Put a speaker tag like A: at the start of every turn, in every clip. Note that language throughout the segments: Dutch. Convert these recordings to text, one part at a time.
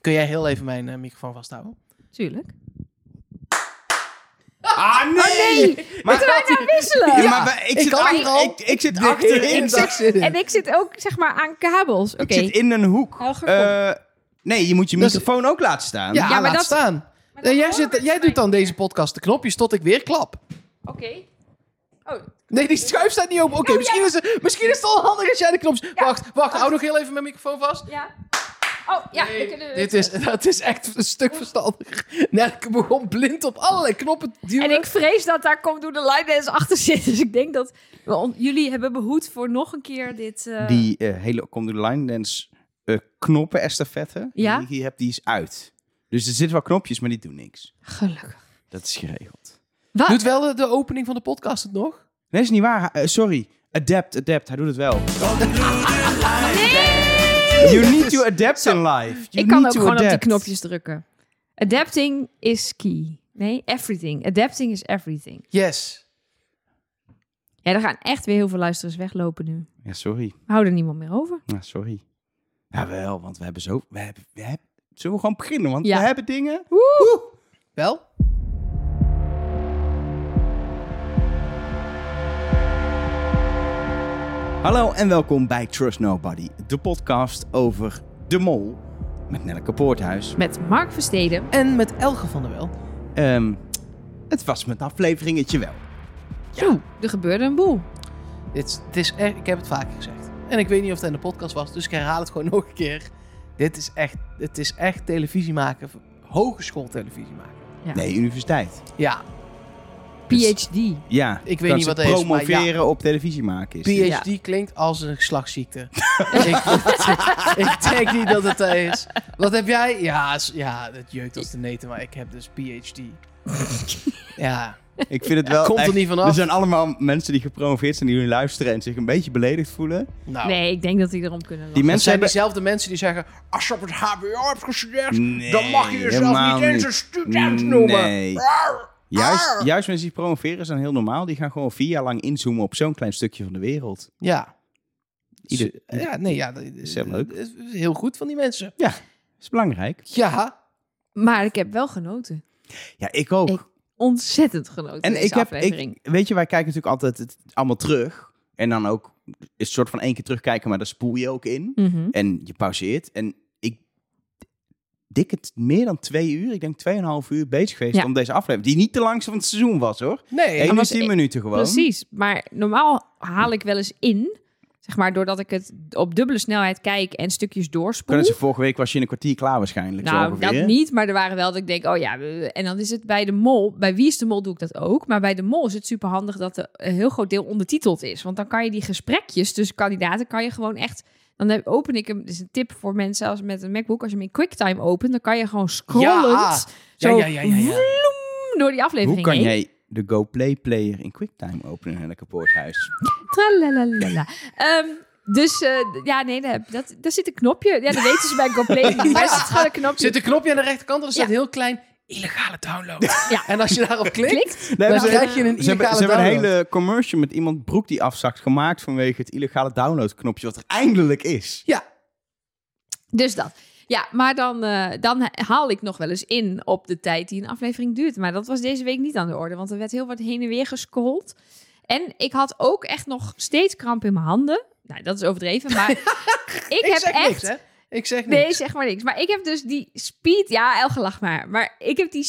A: Kun jij heel even mijn eh, microfoon vasthouden?
B: Tuurlijk.
C: Ah, nee! Maar,
B: Oh, Moeten wij nou wisselen?
C: Ja, maar wij- ik,
A: ik
C: zit
A: kan
C: achter-
A: hier al
C: ik, ik zit
A: de
C: achter
A: hele
C: in
A: dag
C: dat-
A: zitten.
B: En ik zit ook, zeg maar, aan kabels. Oké.
C: Ik zit in een hoek.
B: Helger,
C: Eh, nee, je moet je
A: Dus-
C: microfoon ook laten staan.
A: Ja,
B: maar
A: laat
B: dat-
A: staan.
B: Maar
A: Eh,
B: dat
A: jij,
B: hoort
A: zit,
B: bij
A: jij
B: mij.
A: doet dan deze podcast de knopjes tot ik weer klap.
B: Oké. Oh,
A: Nee, die schuif staat niet open. Oké,
B: Nou,
A: misschien, is het- misschien is het al handig als jij de knopjes... Wacht, wacht, hou nog heel even mijn microfoon vast.
B: ja. Oh, ja.
A: Nee, dit is, dat is echt een stuk verstandig. Nelke begon blind op allerlei knoppen te duwen.
B: En ik vrees dat daar komt door de line dance achter zit. Dus ik denk dat we on- jullie hebben behoed voor nog een keer dit... eh,
C: Die eh, hele Come to the Line Dance eh, knoppen estafette
B: Ja?
C: die ik hier heb, die is uit. Dus er zitten wel knopjes, maar die doen niks.
B: Gelukkig.
C: Dat is geregeld.
B: Wat?
A: Doet wel de, de opening van de podcast het nog?
C: Nee, is niet waar. Hij- eh, sorry. Adapt, adapt. Hij doet het wel. You need to adapt in life. You
B: ik kan
C: need
B: ook
C: to
B: gewoon op die
C: adapt.
B: knopjes drukken. Adapting is key. Nee, everything. Adapting is everything.
A: Yes.
B: Ja, er gaan echt weer heel veel luisteraars weglopen nu.
C: Ja, sorry.
B: We houden niemand meer over.
C: Ja, sorry. Jawel, want we hebben zo... We hebben, we hebben, zullen we gewoon beginnen? Want
B: Ja.
C: we hebben dingen...
A: Wel?
C: Hallo en welkom bij Trust Nobody, de podcast over de mol met Nelleke Poorthuis.
B: Met Mark Versteden.
A: En met Elge van der Wel.
C: Ehm, het was met een afleveringetje wel.
B: Zo, er gebeurde een boel.
A: Dit, is- het is echt, ik heb het vaker gezegd. En ik weet niet of het in de podcast was, dus ik herhaal het gewoon nog een keer. Dit is echt, het is echt televisie maken, hogeschool televisie maken.
B: Ja.
C: Nee, universiteit.
A: Ja,
B: Dus- PhD.
C: Ja,
A: weet
C: kan
A: niet
C: ze
A: wat dat is, maar
C: promoveren op televisie maken is. dit.
A: PhD klinkt als een geslachtsziekte. ik, ik denk niet dat het dat is. Wat heb jij? Ja, s- ja, dat jeukt als de neten, maar ik heb dus PhD. ja,
C: Ik vind het wel
A: komt er
C: echt-
A: niet vanaf.
C: Er zijn allemaal mensen die gepromoveerd zijn, die nu luisteren en zich een beetje beledigd voelen.
A: nou.
B: Nee, ik denk dat die erom kunnen
C: Die
B: lachen.
A: Het
C: mensen
A: zijn
C: hebben...
A: diezelfde mensen die zeggen... Als je op het hbo hebt gestudeerd,
C: Nee,
A: dan mag je jezelf
C: helemaal
A: niet eens
C: niet.
A: een student noemen.
C: Nee. Juist, juist mensen die promoveren zijn heel normaal. Die gaan gewoon vier jaar lang inzoomen op zo'n klein stukje van de wereld.
A: Ja.
C: Ieder-
A: ja, nee, ja. Dat is
C: heel leuk.
A: is heel goed van die mensen.
C: Ja, is belangrijk.
A: Ja.
B: Maar ik heb wel genoten.
C: Ja, ik ook.
B: Ik- Ontzettend genoten.
C: en
B: deze
C: ik heb,
B: aflevering.
C: ik, weet je, wij kijken natuurlijk altijd het allemaal terug. En dan ook is het soort van één keer terugkijken, maar daar spoel je ook in.
B: Mhm.
C: En je pauzeert. En ik dik het meer dan twee uur, ik denk tweeënhalf uur bezig geweest
B: Ja.
C: om deze aflevering. Die niet de langste van het seizoen was hoor.
A: Nee.
C: Eén uur
B: was- e-
C: tien minuten gewoon.
B: Precies, maar normaal haal ik wel eens in, zeg maar, doordat ik het op dubbele snelheid kijk en stukjes doorspoel.
C: Kunnen ze vorige week was je in een kwartier klaar waarschijnlijk. zo
B: nou,
C: ongeveer.
B: dat niet, maar er waren wel dat ik denk, oh ja, eh, en dan is het bij de mol, bij Wie is de Mol doe ik dat ook, maar bij de mol is het superhandig dat er een heel groot deel ondertiteld is, want dan kan je die gesprekjes tussen kandidaten, kan je gewoon echt, dan heb- open ik hem, dit is een tip voor mensen als met een MacBook, als je hem in QuickTime opent, dan kan je gewoon scrollend,
A: Ja,
B: zo
A: ja, ja, ja, ja.
B: vloem door die aflevering
C: Hoe kan
B: heen.
C: jij de GoPlay player in QuickTime openen in elke poorthuis?
B: Tralalala. Ehm, dus eh, d- ja, nee, daar, dat, daar zit een knopje. Ja, dat weten ze bij GoPlay. niet. Daar zit gewoon een knopje.
A: Zit een knopje aan de rechterkant en er staat
B: Ja.
A: heel klein... Illegale download.
B: Ja.
A: En als je daarop klikt,
B: Klikt.
C: Nee,
A: dan
C: maar-
A: krijg je een
C: Ze hebben,
A: illegale
C: ze hebben een
A: download.
C: hele commercial met iemand broek die afzakt gemaakt vanwege het illegale downloadknopje wat er eindelijk is.
A: Ja.
B: Dus dat. Ja, maar dan, eh, dan haal ik nog wel eens in op de tijd die een aflevering duurt. Maar dat was deze week niet aan de orde, want er werd heel wat heen en weer gescrolld. En ik had ook echt nog steeds kramp in mijn handen. Nou, dat is overdreven, maar ik,
A: Ik
B: heb
A: zeg
B: echt...
A: niks, hè? Ik zeg niks.
B: Nee, zeg maar niks. Maar ik heb dus die speed... Ja, Elge lach maar. Maar ik heb die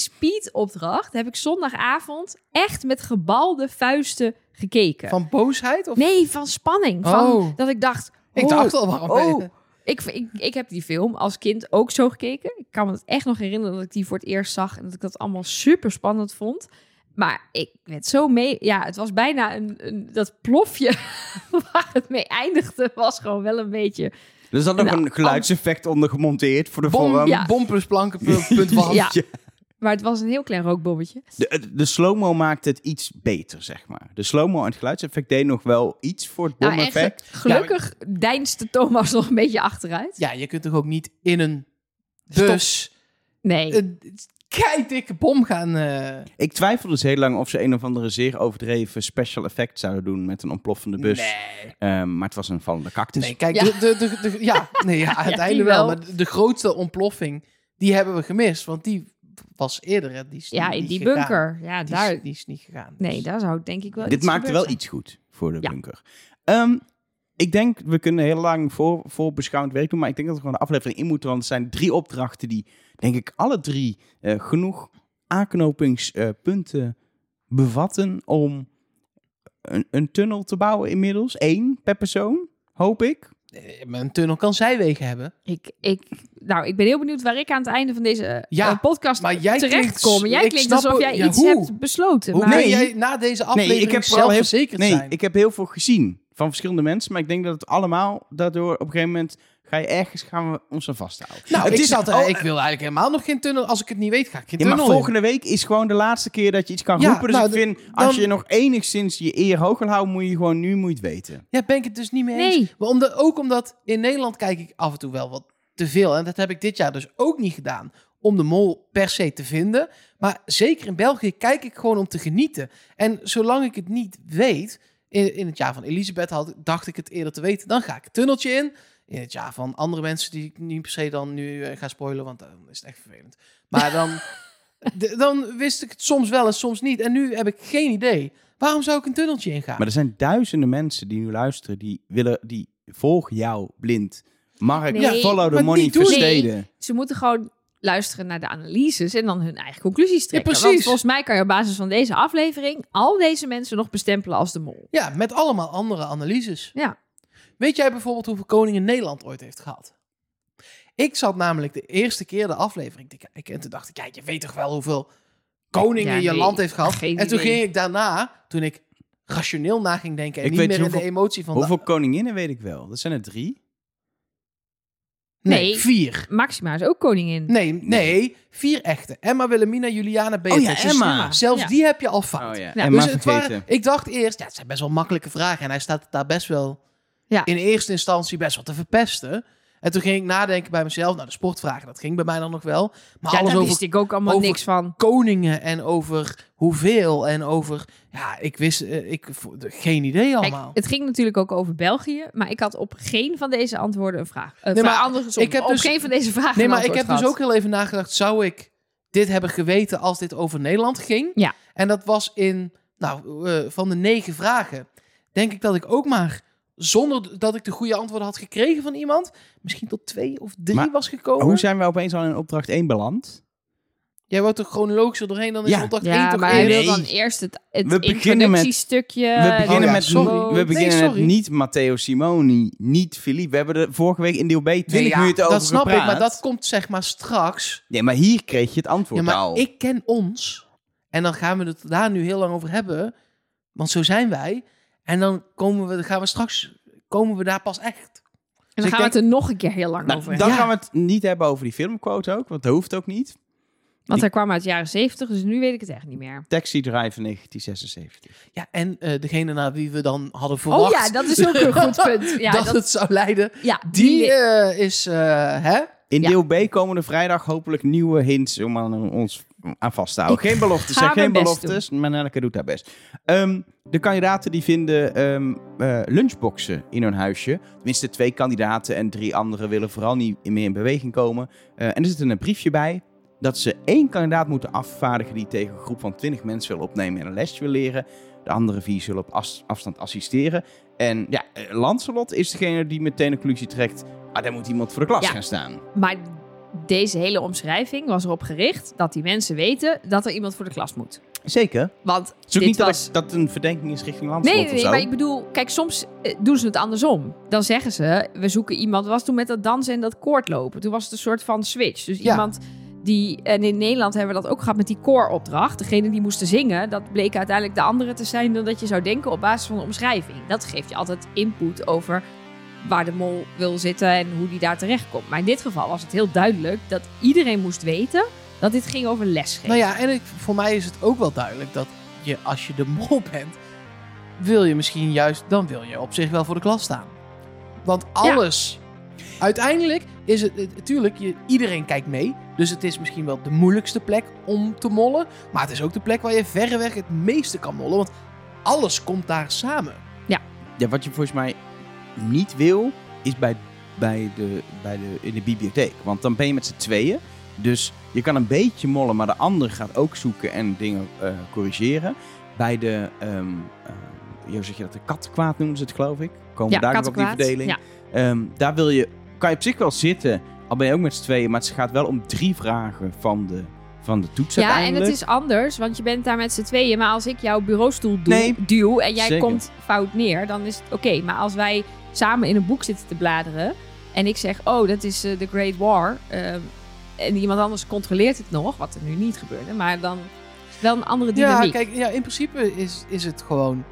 B: speed-opdracht... heb ik zondagavond echt met gebalde vuisten gekeken.
A: Van boosheid? Of?
B: Nee, van spanning. Van
A: Oh.
B: Dat ik dacht...
A: Ik
B: oh,
A: dacht al, waarom ben
B: Oh,
A: je-
B: ik, ik, ik heb die film als kind ook zo gekeken. Ik kan me het echt nog herinneren dat ik die voor het eerst zag... en dat ik dat allemaal super spannend vond. Maar ik werd zo mee... Ja, het was bijna een, een, dat plofje waar het mee eindigde... was gewoon wel een beetje...
C: Er zat nog
B: Nou,
C: een geluidseffect onder gemonteerd voor de
A: oh. Bom,
C: vorm.
B: ja.
A: ehm, bom plus planken, pu- punt van.
B: Ja.
C: Ja.
B: Maar het was een heel klein rookbommetje.
C: De, de slow-mo maakte het iets beter, zeg maar. De slow-mo en het geluidseffect deed nog wel iets voor het
B: Nou,
C: bom
B: echt,
C: effect.
B: gelukkig deinste Thomas nog een beetje achteruit.
A: Ja, je kunt toch ook niet in een... Dus...
B: Nee.
A: Een keidikke bom gaan... eh,
C: Ik twijfelde dus heel lang of ze een of andere zeer overdreven special effect zouden doen met een ontploffende bus.
A: Nee.
C: Ehm, maar het was een vallende cactus.
A: Nee, Dus kijk,
B: Ja.
A: De, de, de, de- ja, nee, ja, uiteindelijk
B: die
A: wel.
B: wel.
A: Maar de, de grootste ontploffing Die hebben we gemist, want die was eerder. Hè, die is
B: Ja,
A: niet-
B: in
A: niet
B: die
A: gegaan.
B: bunker. Ja,
A: Die is,
B: daar.
A: die is niet gegaan.
B: Nee,
A: Dus-
B: daar zou denk ik wel
C: Dit
B: iets
C: maakte
B: gebeurd
C: wel iets goed voor de
B: Ja.
C: bunker. Ehm, ik denk, we kunnen heel lang voor, voor beschouwend werk doen, maar ik denk dat we gewoon een aflevering in moeten, want er zijn drie opdrachten die, denk ik, alle drie eh, genoeg aanknopingspunten eh, bevatten om een, een tunnel te bouwen inmiddels. Eén per persoon, hoop ik.
A: Eh, Maar een tunnel kan zijwegen hebben.
B: Ik, ik, nou, ik ben heel benieuwd waar ik aan het einde van deze eh,
A: Ja,
B: podcast
A: maar jij
B: terecht
A: klinkt-
B: kom. Jij
A: ik
B: klinkt
A: snap
B: alsof
A: ook-
B: jij
A: ja,
B: iets
A: hoe?
B: hebt besloten.
C: Hoe?
B: maar
A: Nee,
C: Nee.
A: jij, na deze aflevering
C: ik heb vooral heel-
A: zelfverzekerd
C: Nee,
A: zijn.
C: ik heb heel veel gezien van verschillende mensen, maar ik denk dat het allemaal daardoor op een gegeven moment ga je ergens gaan we ons aan vasthouden. Oh,
A: Nou,
C: het
A: ik,
C: is
A: zat, er-
C: al-
A: ik wil eigenlijk helemaal nog geen tunnel. Als ik het niet weet, ga ik geen
C: Ja,
A: tunnel
C: maar
A: in.
C: volgende week is gewoon de laatste keer dat je iets kan
A: Ja,
C: roepen. Dus
A: nou,
C: ik
A: d-
C: vind, als
A: dan-
C: je nog enigszins je eer hoog wil houden, moet je gewoon nu moet je het weten.
A: Ja, ben ik het dus niet mee eens.
B: Nee.
A: Maar omdat, ook omdat in Nederland kijk ik af en toe wel wat te veel. En dat heb ik dit jaar dus ook niet gedaan. Om de mol per se te vinden. Maar zeker in België kijk ik gewoon om te genieten. En zolang ik het niet weet. In, in het jaar van Elisabeth had, dacht ik het eerder te weten. Dan ga ik het tunneltje in. In het jaar van andere mensen die ik niet per se dan nu eh, ga spoilen. Want dan is het echt vervelend. Maar dan, d- dan wist ik het soms wel en soms niet. En nu heb ik geen idee. Waarom zou ik een tunneltje ingaan?
C: Maar er zijn duizenden mensen die nu luisteren, die willen, die volgen jou blind. Mark,
B: Nee,
C: follow the
A: maar
C: money
A: die doen-
C: versteden.
B: Ze moeten gewoon luisteren naar de analyses en dan hun eigen conclusies trekken.
A: precies.
B: Want volgens mij kan je op basis van deze aflevering al deze mensen nog bestempelen als de mol.
A: Ja, met allemaal andere analyses.
B: Ja.
A: Weet jij bijvoorbeeld hoeveel koningen Nederland ooit heeft gehad? Ik zat namelijk de eerste keer de aflevering te kijken. En toen dacht ik, ja, je weet toch wel hoeveel koningen
B: Ja,
A: je
B: nee,
A: land heeft gehad.
B: geen
A: en toen
B: idee.
A: ging ik daarna, toen ik rationeel na ging denken en
C: Ik
A: niet
C: weet
A: meer in
C: hoeveel-
A: de emotie van... de-
C: Hoeveel koninginnen weet ik wel? Dat zijn er drie.
A: nee,
B: Nee.
A: vier.
B: Maxima is ook koningin.
A: Nee, nee, vier echte. Emma, Wilhelmina, Juliana, Beatrix.
C: ja,
A: Dus
C: Emma.
A: Zelfs
B: Oh Ja.
A: die heb je al fout.
C: ja.
B: Ja.
C: En maar
A: Dus het
C: vergeten.
A: waren, ik dacht eerst, ja, het zijn best wel makkelijke vragen. En hij staat het daar best wel
B: Ja.
A: in eerste instantie best wel te verpesten. En toen ging ik nadenken bij mezelf. Nou, de sportvragen, dat ging bij mij dan nog wel. Maar
B: Ja,
A: alles
B: daar
A: over
B: wist ik ook allemaal
A: over-
B: niks van.
A: koningen en over hoeveel en over... Ja, ik wist... eh, ik, vo- de- geen idee
B: Kijk,
A: allemaal.
B: het ging natuurlijk ook over België, maar ik had op geen van deze antwoorden een vraag. Eh,
A: Nee,
B: vraag
A: maar
B: andersom,
A: ik heb
B: op
A: dus-
B: geen van deze vragen
A: nee,
B: een
A: maar ik heb
B: antwoord
A: dus
B: gehad.
A: ook heel even nagedacht. Zou ik dit hebben geweten als dit over Nederland ging?
B: Ja.
A: En dat was in... Nou, eh, van de negen vragen... Denk ik dat ik ook maar... Zonder dat ik de goede antwoorden had gekregen van iemand... Misschien tot twee of drie
C: Maar
A: was gekomen.
C: Oh, Hoe zijn we opeens al in opdracht 1 beland?
A: Jij wordt er chronologisch er doorheen, dan is
C: Ja.
A: opdracht één
B: Ja,
A: toch
B: maar hij
A: eerder?
B: wil
C: Nee.
B: dan eerst het, het
C: We beginnen met-
B: introductiestukje.
C: we beginnen,
A: oh ja,
C: met,
A: sorry.
C: we beginnen
A: Nee, sorry.
C: met niet Matteo Simoni, niet Philippe. We hebben er vorige week in deel B 20
A: Nee, ja,
C: minuten over
A: Dat snap ik, maar
C: gepraat.
A: dat komt zeg maar straks.
C: Nee, maar hier kreeg je het antwoord
A: ja, maar
C: al.
A: ik ken ons. En dan gaan we het daar nu heel lang over hebben. Want zo zijn wij. En dan komen we, dan gaan we straks komen we daar pas echt.
B: En
A: Dus
B: dan
A: ik
B: gaan we het er nog een keer heel lang
C: Nou,
B: over
C: dan
B: hebben.
A: Ja.
C: gaan we het niet hebben over die filmquote ook, want dat hoeft ook niet.
B: Want hij kwam uit de jaren 70, dus nu weet ik het echt niet meer.
C: Taxi Drive van 1976.
A: Ja, en eh, degene naar wie we dan hadden verwacht.
B: Oh ja, dat is ook een goed punt. Ja,
A: dat,
B: dat,
A: het zou leiden.
B: ja,
A: Die
B: li-
A: eh, is, eh, hè?
C: In
B: Ja.
C: deel B komen er vrijdag hopelijk nieuwe hints om aan ons aan vast te houden.
B: Ik
C: geen beloftes,
B: ga
C: hè,
B: mijn
C: geen
B: best
C: beloftes, maar Nelke doet haar best. Ehm, de kandidaten die vinden ehm, eh, lunchboxen in hun huisje. Tenminste, twee kandidaten en drie anderen willen vooral niet meer in beweging komen. Eh, en er zit een briefje bij dat ze één kandidaat moeten afvaardigen die tegen een groep van twintig mensen wil opnemen en een lesje wil leren. De andere vier zullen op as- afstand assisteren. En ja, eh, Lancelot is degene die meteen de conclusie trekt. Ah, daar moet iemand voor de klas
B: Ja.
C: gaan staan.
B: Maar deze hele omschrijving was erop gericht dat die mensen weten dat er iemand voor de klas moet.
C: Zeker.
B: Want
C: Het is ook
B: dit
C: niet dat
B: was...
C: het- dat het een verdenking is richting Lanslot
B: Nee, nee, nee,
C: of zo.
B: maar ik bedoel, kijk, soms eh, doen ze het andersom. Dan zeggen ze, we zoeken iemand. Wat was toen met dat dansen en dat koordlopen? Toen was het een soort van switch. Dus
A: Ja.
B: iemand die, en in Nederland hebben we dat ook gehad met die kooropdracht. Degene die moesten zingen, dat bleek uiteindelijk de andere te zijn dan dat je zou denken op basis van de omschrijving. Dat geeft je altijd input over waar de mol wil zitten en hoe die daar terecht komt. Maar in dit geval was het heel duidelijk dat iedereen moest weten dat dit ging over lesgeven.
A: Nou ja, en ik, voor mij is het ook wel duidelijk dat je, als je de mol bent, wil je misschien juist, dan wil je op zich wel voor de klas staan. Want alles, uiteindelijk is het, natuurlijk, je, iedereen kijkt mee. Dus het is misschien wel de moeilijkste plek om te mollen. Maar het is ook de plek waar je verreweg het meeste kan mollen. Want alles komt daar samen.
C: Ja, wat je volgens mij niet wil, is bij, bij de, bij de, in de bibliotheek. Want dan ben je met z'n tweeën. Dus je kan een beetje mollen, maar de ander gaat ook zoeken en dingen eh, corrigeren. Bij de, ehm eh, hoe zeg je dat, de kattenkwaad noemen ze het geloof ik. Komen
B: Ja,
C: we daar nog op die
B: kattenkwaad.
C: verdeling.
B: Ja.
C: Ehm, daar wil je, kan je op zich wel zitten, al ben je ook met z'n tweeën. Maar het gaat wel om drie vragen van de, van de
A: Dus
C: toets
B: ja, en
C: uiteindelijk.
B: het is anders, want je bent daar met z'n tweeën. Maar als ik jouw bureaustoel doe,
C: Nee,
B: duw en jij
C: zeker.
B: komt fout neer, dan is het oké. Maar als wij samen in een boek zitten te bladeren en ik zeg, oh, dat is eh, The Great War. ehm, en iemand anders controleert het nog, wat er nu niet gebeurde. Maar dan is het wel een andere
A: Ja,
B: dynamiek.
A: kijk, ja, in principe is, is het gewoon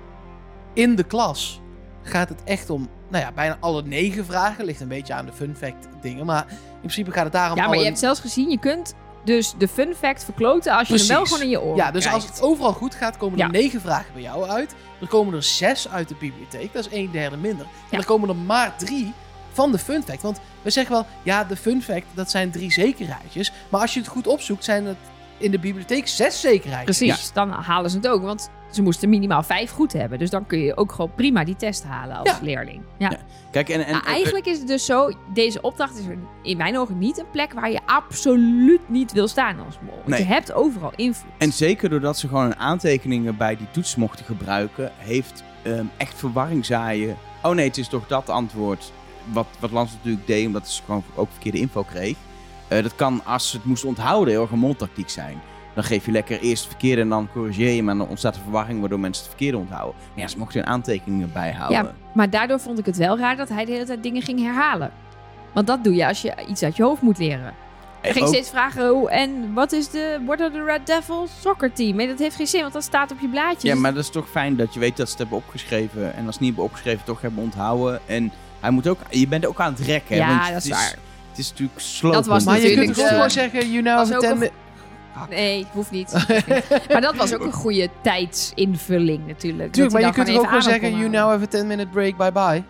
A: in de klas gaat het echt om, nou ja, bijna alle negen vragen. Ligt een beetje aan de fun fact dingen, maar in principe gaat het daarom
B: ja, maar
A: alle...
B: je hebt zelfs gezien, je kunt dus de fun fact verkloten als je hem wel
A: Precies.
B: gewoon in je oren
A: ja, dus als
B: krijgt.
A: het overal goed gaat, komen er
B: Ja.
A: negen vragen bij jou uit. Er komen er zes uit de bibliotheek, dat is een derde minder.
B: Ja.
A: En er komen er maar drie van de fun fact. Want we zeggen wel, ja, de fun fact, dat zijn drie zekerheidjes. Maar als je het goed opzoekt, zijn het in de bibliotheek zes zekerheidjes.
B: Precies, dan halen ze het ook. Want ze moesten minimaal vijf goed hebben. Dus dan kun je ook gewoon prima die test halen als
A: Ja.
B: leerling. Ja.
C: Ja. Kijk, en, en,
B: Nou, eigenlijk is het dus zo, deze opdracht is er in mijn ogen niet een plek waar je absoluut niet wil staan als mol. Want
C: Nee.
B: je hebt overal invloed.
C: En zeker doordat ze gewoon aantekeningen bij die toets mochten gebruiken, heeft ehm, echt verwarring zaaien. Oh nee, het is toch dat antwoord. Wat, wat Lans natuurlijk deed, omdat ze gewoon ook verkeerde info kreeg. Eh, dat kan, als ze het moest onthouden, heel erg een mondtactiek zijn. Dan geef je lekker eerst het verkeerde en dan corrigeer je hem. En dan ontstaat er verwarring waardoor mensen het verkeerde onthouden. Maar ja, ze mochten hun aantekeningen bijhouden.
B: Ja, maar daardoor vond ik het wel raar dat hij de hele tijd dingen ging herhalen. Want dat doe je als je iets uit je hoofd moet leren. Hij
C: En
B: ging
C: ook-
B: steeds vragen, oh, en wat is de, what are the Red Devils soccer team? En dat heeft geen zin, want dat staat op je blaadjes.
C: Ja, maar dat is toch fijn dat je weet dat ze het hebben opgeschreven. En als ze het niet hebben opgeschreven, toch hebben onthouden. En hij moet ook, je bent ook aan het rekken. hè,
B: Ja,
C: want
B: dat
C: het
B: is
C: is
B: waar.
C: Het is natuurlijk slopend.
B: Dat was
A: Maar je
B: natuurlijk,
A: kunt toch ook
B: eh,
A: gewoon zeggen, you know,
B: was
A: have
B: ook
A: ten
B: een
A: mi-
B: Nee, het hoeft niet. Hoeft niet. maar dat was ook een goede tijdsinvulling natuurlijk.
A: Tuurlijk, maar je
B: dat hij
A: kunt
B: dan
A: toch ook gewoon
B: even
A: zeggen,
B: aandacht
A: you
B: kon
A: now have a 10 minute break, bye bye.
B: houden.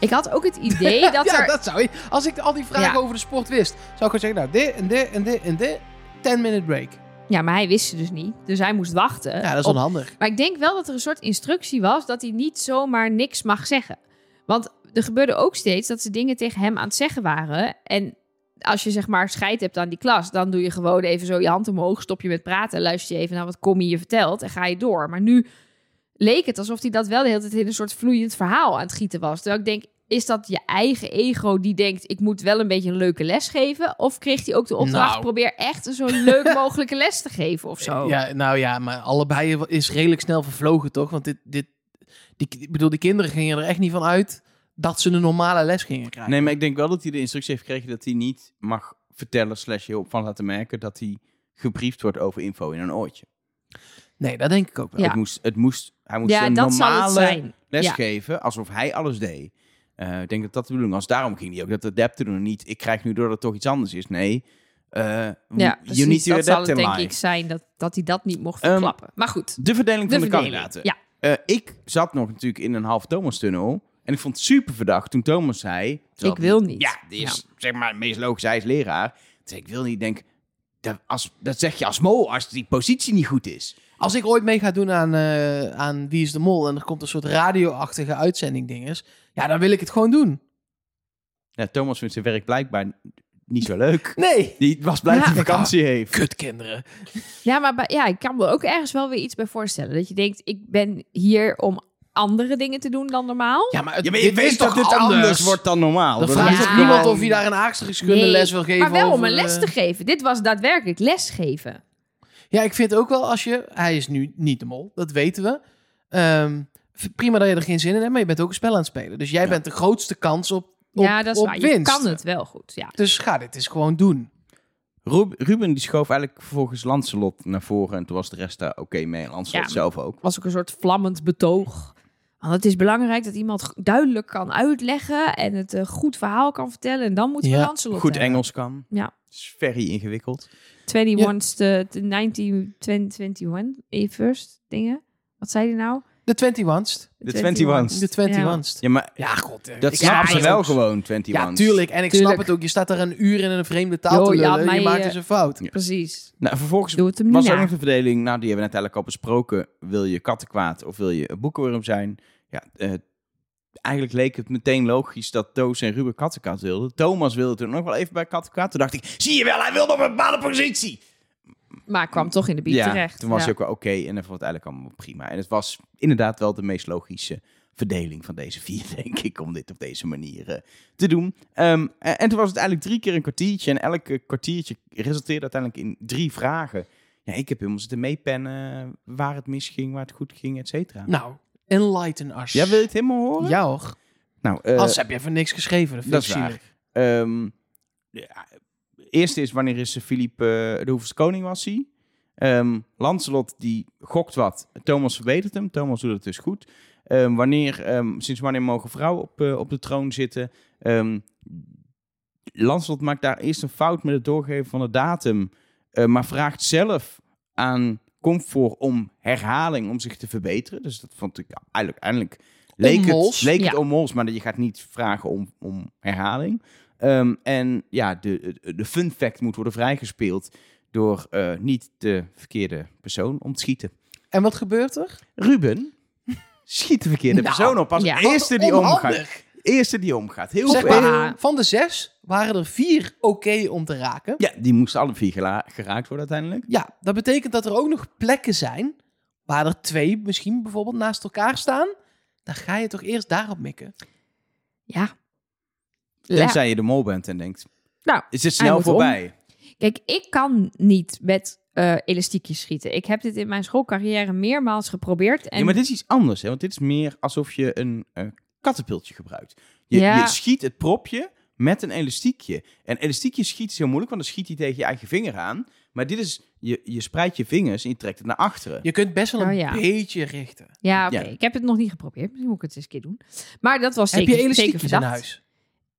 B: Ik had ook het idee dat
A: ja,
B: er...
A: dat zou je. Als ik al die vragen
B: Ja.
A: over de sport wist, zou ik gewoon zeggen, nou, dit en dit en dit en dit, 10 minute break.
B: Ja, maar hij wist ze dus niet. Dus hij moest wachten.
A: Ja, dat is
B: op-
A: onhandig.
B: Maar ik denk wel dat er een soort instructie was dat hij niet zomaar niks mag zeggen. Want er gebeurde ook steeds dat ze dingen tegen hem aan het zeggen waren. En als je zeg maar scheid hebt aan die klas, dan doe je gewoon even zo je hand omhoog, stop je met praten, luister je even naar wat Commie je vertelt en ga je door. Maar nu leek het alsof hij dat wel de hele tijd in een soort vloeiend verhaal aan het gieten was. Terwijl ik denk, is dat je eigen ego die denkt, ik moet wel een beetje een leuke les geven? Of kreeg hij ook de opdracht,
A: Nou.
B: probeer echt een zo leuk mogelijke les te geven of zo?
A: Ja, nou ja, maar allebei is redelijk snel vervlogen, toch? Want dit, dit, die, ik bedoel, die kinderen gingen er echt niet van uit dat ze een normale les gingen krijgen.
C: Nee, maar ik denk wel dat hij de instructie heeft gekregen dat hij niet mag vertellen, slash heel van laten merken dat hij gebriefd wordt over info in een oortje.
A: Nee, dat denk ik ook wel.
B: Ja.
C: Het moest, het moest, hij moest
B: Ja,
C: een
B: dat zal het
C: normale
B: zijn.
C: les
B: Ja.
C: geven, alsof hij alles deed. Eh, ik denk dat dat de bedoeling was. Daarom ging hij ook dat adapten doen. Niet, ik krijg nu door dat het toch iets anders is. Nee, eh
B: Ja,
C: you need
B: precies.
C: to
B: Dat zal
C: adapt
B: het
C: in
B: denk
C: life.
B: ik zijn dat, dat hij dat niet mocht
C: Ehm,
B: verklappen. maar goed,
C: De verdeling
B: de
C: van de,
B: verdeling.
C: kandidaten.
B: Ja,
C: Eh, ik zat nog natuurlijk in een half Thomas-tunnel. En ik vond het super verdacht toen Thomas zei... terwijl
B: Ik wil niet.
C: Ja, die is zeg maar het meest logisch. Hij is leraar. Toen zei ik, ik wil niet. Ik denk, dat, als, dat zeg je als mol als die positie niet goed is.
A: Als ik ooit mee ga doen aan, eh, aan Wie is de Mol en er komt een soort radioachtige uitzending dinges, ja, dan wil ik het gewoon doen.
C: Ja, Thomas vindt zijn werk blijkbaar niet zo leuk.
A: Nee.
C: Die was blij dat hij
A: Ja.
C: vakantie heeft.
A: Kut kinderen.
B: ja maar bij- ja, ik kan me ook ergens wel weer iets bij voorstellen. Dat je denkt, ik ben hier om andere dingen te doen dan normaal.
A: Ja, maar, het,
C: Ja, maar je weet
A: is
C: dat dit anders, wordt dan
B: Nou,
C: normaal.
A: Dan
C: Dat
A: vraagt
C: is
A: ook
B: Ja.
A: niemand of je daar een aardrijkskunde
B: Nee,
A: les wil geven.
B: maar wel
A: of
B: om een les
A: eh,
B: te geven. Dit was daadwerkelijk lesgeven.
A: Ja, ik vind ook wel als je... Hij is nu niet de mol, dat weten we. Ehm, v- prima dat je er geen zin in hebt, maar je bent ook een spel aan het spelen. Dus jij
C: Ja.
A: bent de grootste kans op, op,
B: Ja, dat is
A: op
B: waar. Je
A: winst.
B: kan het wel goed, ja.
A: Dus ga dit eens gewoon doen.
C: Rob- Ruben die schoof eigenlijk vervolgens Lancelot naar voren. En toen was de rest daar oké mee. Lancelot
B: Ja.
C: zelf ook.
B: was ook een soort vlammend betoog. Want het is belangrijk dat iemand g- duidelijk kan uitleggen en het een goed verhaal kan vertellen. En dan moet je
A: Ja,
B: Lancelot
C: Goed
B: hebben.
C: Engels kan.
B: Ja.
C: Het is very ingewikkeld.
B: 21 ste de 19, 21 eh, first dingen. Wat zei hij nou?
A: De 21st.
C: De 21's.
A: De 21st.
C: Ja, maar
A: Ja, god. eh,
C: dat
A: ik snap
C: snappen ze
A: het
C: wel
A: ook.
C: gewoon, 21.
A: Ja, tuurlijk. En ik
B: Tuurlijk.
A: snap het ook. Je staat daar een uur in een vreemde taal
B: Jo,
A: te
B: ja,
A: lullen.
B: maar
A: je
B: je-
A: maakt dus een fout.
B: Precies.
C: Nou, vervolgens
B: Doe het hem nu
C: was
B: na.
C: er nog de verdeling. Nou, die hebben we net eigenlijk al besproken. Wil je kattenkwaad of wil je een boekenworm zijn? Ja, eh, eigenlijk leek het meteen logisch dat Toos en Ruben Kattenkaat wilden. Thomas wilde toen nog wel even bij Kattenkaat. Toen dacht ik, zie je wel, hij wilde op een bepaalde positie.
B: Maar kwam toch in de biet terecht.
C: toen was
B: Ja.
C: hij ook wel oké en dan vond het eigenlijk allemaal prima. En het was inderdaad wel de meest logische verdeling van deze vier, denk ik, om dit op deze manier eh, te doen. Ehm, en, en toen was het eigenlijk drie keer een kwartiertje en elk eh, kwartiertje resulteerde uiteindelijk in drie vragen. Ja, ik heb helemaal zitten meepennen waar het misging, waar het goed ging, et cetera.
A: Nou, enlighten us.
C: Ja, wil je het helemaal horen?
A: Ja hoor.
C: Nou, eh,
A: Als heb je voor niks geschreven. Dat, vind
C: dat
A: ik
C: is waar.
A: zielig.
C: Ehm ja, eerste is wanneer is eh, Philippe eh, de hoeveelste koning was hij? Ehm Lancelot die gokt wat. Thomas verbetert hem. Thomas doet het dus goed. Ehm, wanneer, ehm, sinds wanneer mogen vrouwen op, eh, op de troon zitten? Ehm Lancelot maakt daar eerst een fout met het doorgeven van de datum. eh, maar vraagt zelf aan Comfort om herhaling om zich te verbeteren. Dus dat vond ik eigenlijk... eigenlijk leek het,
A: Onmols.
C: leek het
B: Ja.
C: onmols, maar je gaat niet vragen om, om herhaling. Ehm, en ja, de, de fun fact moet worden vrijgespeeld door eh, niet de verkeerde persoon om te schieten.
A: En wat gebeurt er?
C: Ruben schiet de verkeerde
B: Nou,
C: persoon op als
B: ja.
C: eerste die
A: Wat
C: omgaat.
A: Oh, onhandig.
C: Eerste die omgaat. Heel
A: Zeg
C: veel.
A: maar, van de zes waren er vier oké om te raken.
C: Ja, die moesten alle vier gela- geraakt worden uiteindelijk.
A: Ja, dat betekent dat er ook nog plekken zijn waar er twee misschien bijvoorbeeld naast elkaar staan. Dan ga je toch eerst daarop mikken.
B: Ja. Ja.
C: Tenzij je de mol bent en denkt,
B: Nou,
C: is dit
B: Hij
C: snel
B: moet om.
C: voorbij?
B: Kijk, ik kan niet met eh, elastiekjes schieten. Ik heb dit in mijn schoolcarrière meermaals geprobeerd. En
C: Ja, maar dit is iets anders, hè? want dit is meer alsof je een eh kattenpultje gebruikt. Je,
B: Ja.
C: je schiet het propje met een elastiekje. En elastiekje schiet is heel moeilijk, want dan schiet hij tegen je eigen vinger aan. Maar dit is, je, je spreidt je vingers en je trekt het naar achteren.
A: Je kunt best wel een
B: Oh ja.
A: beetje richten.
B: Ja, oké.
C: Ja.
B: Ik heb het nog niet geprobeerd. Misschien moet ik het eens een keer doen. Maar dat was zeker,
A: Heb je
B: zeker
A: elastiekjes in
B: verdacht.
A: huis?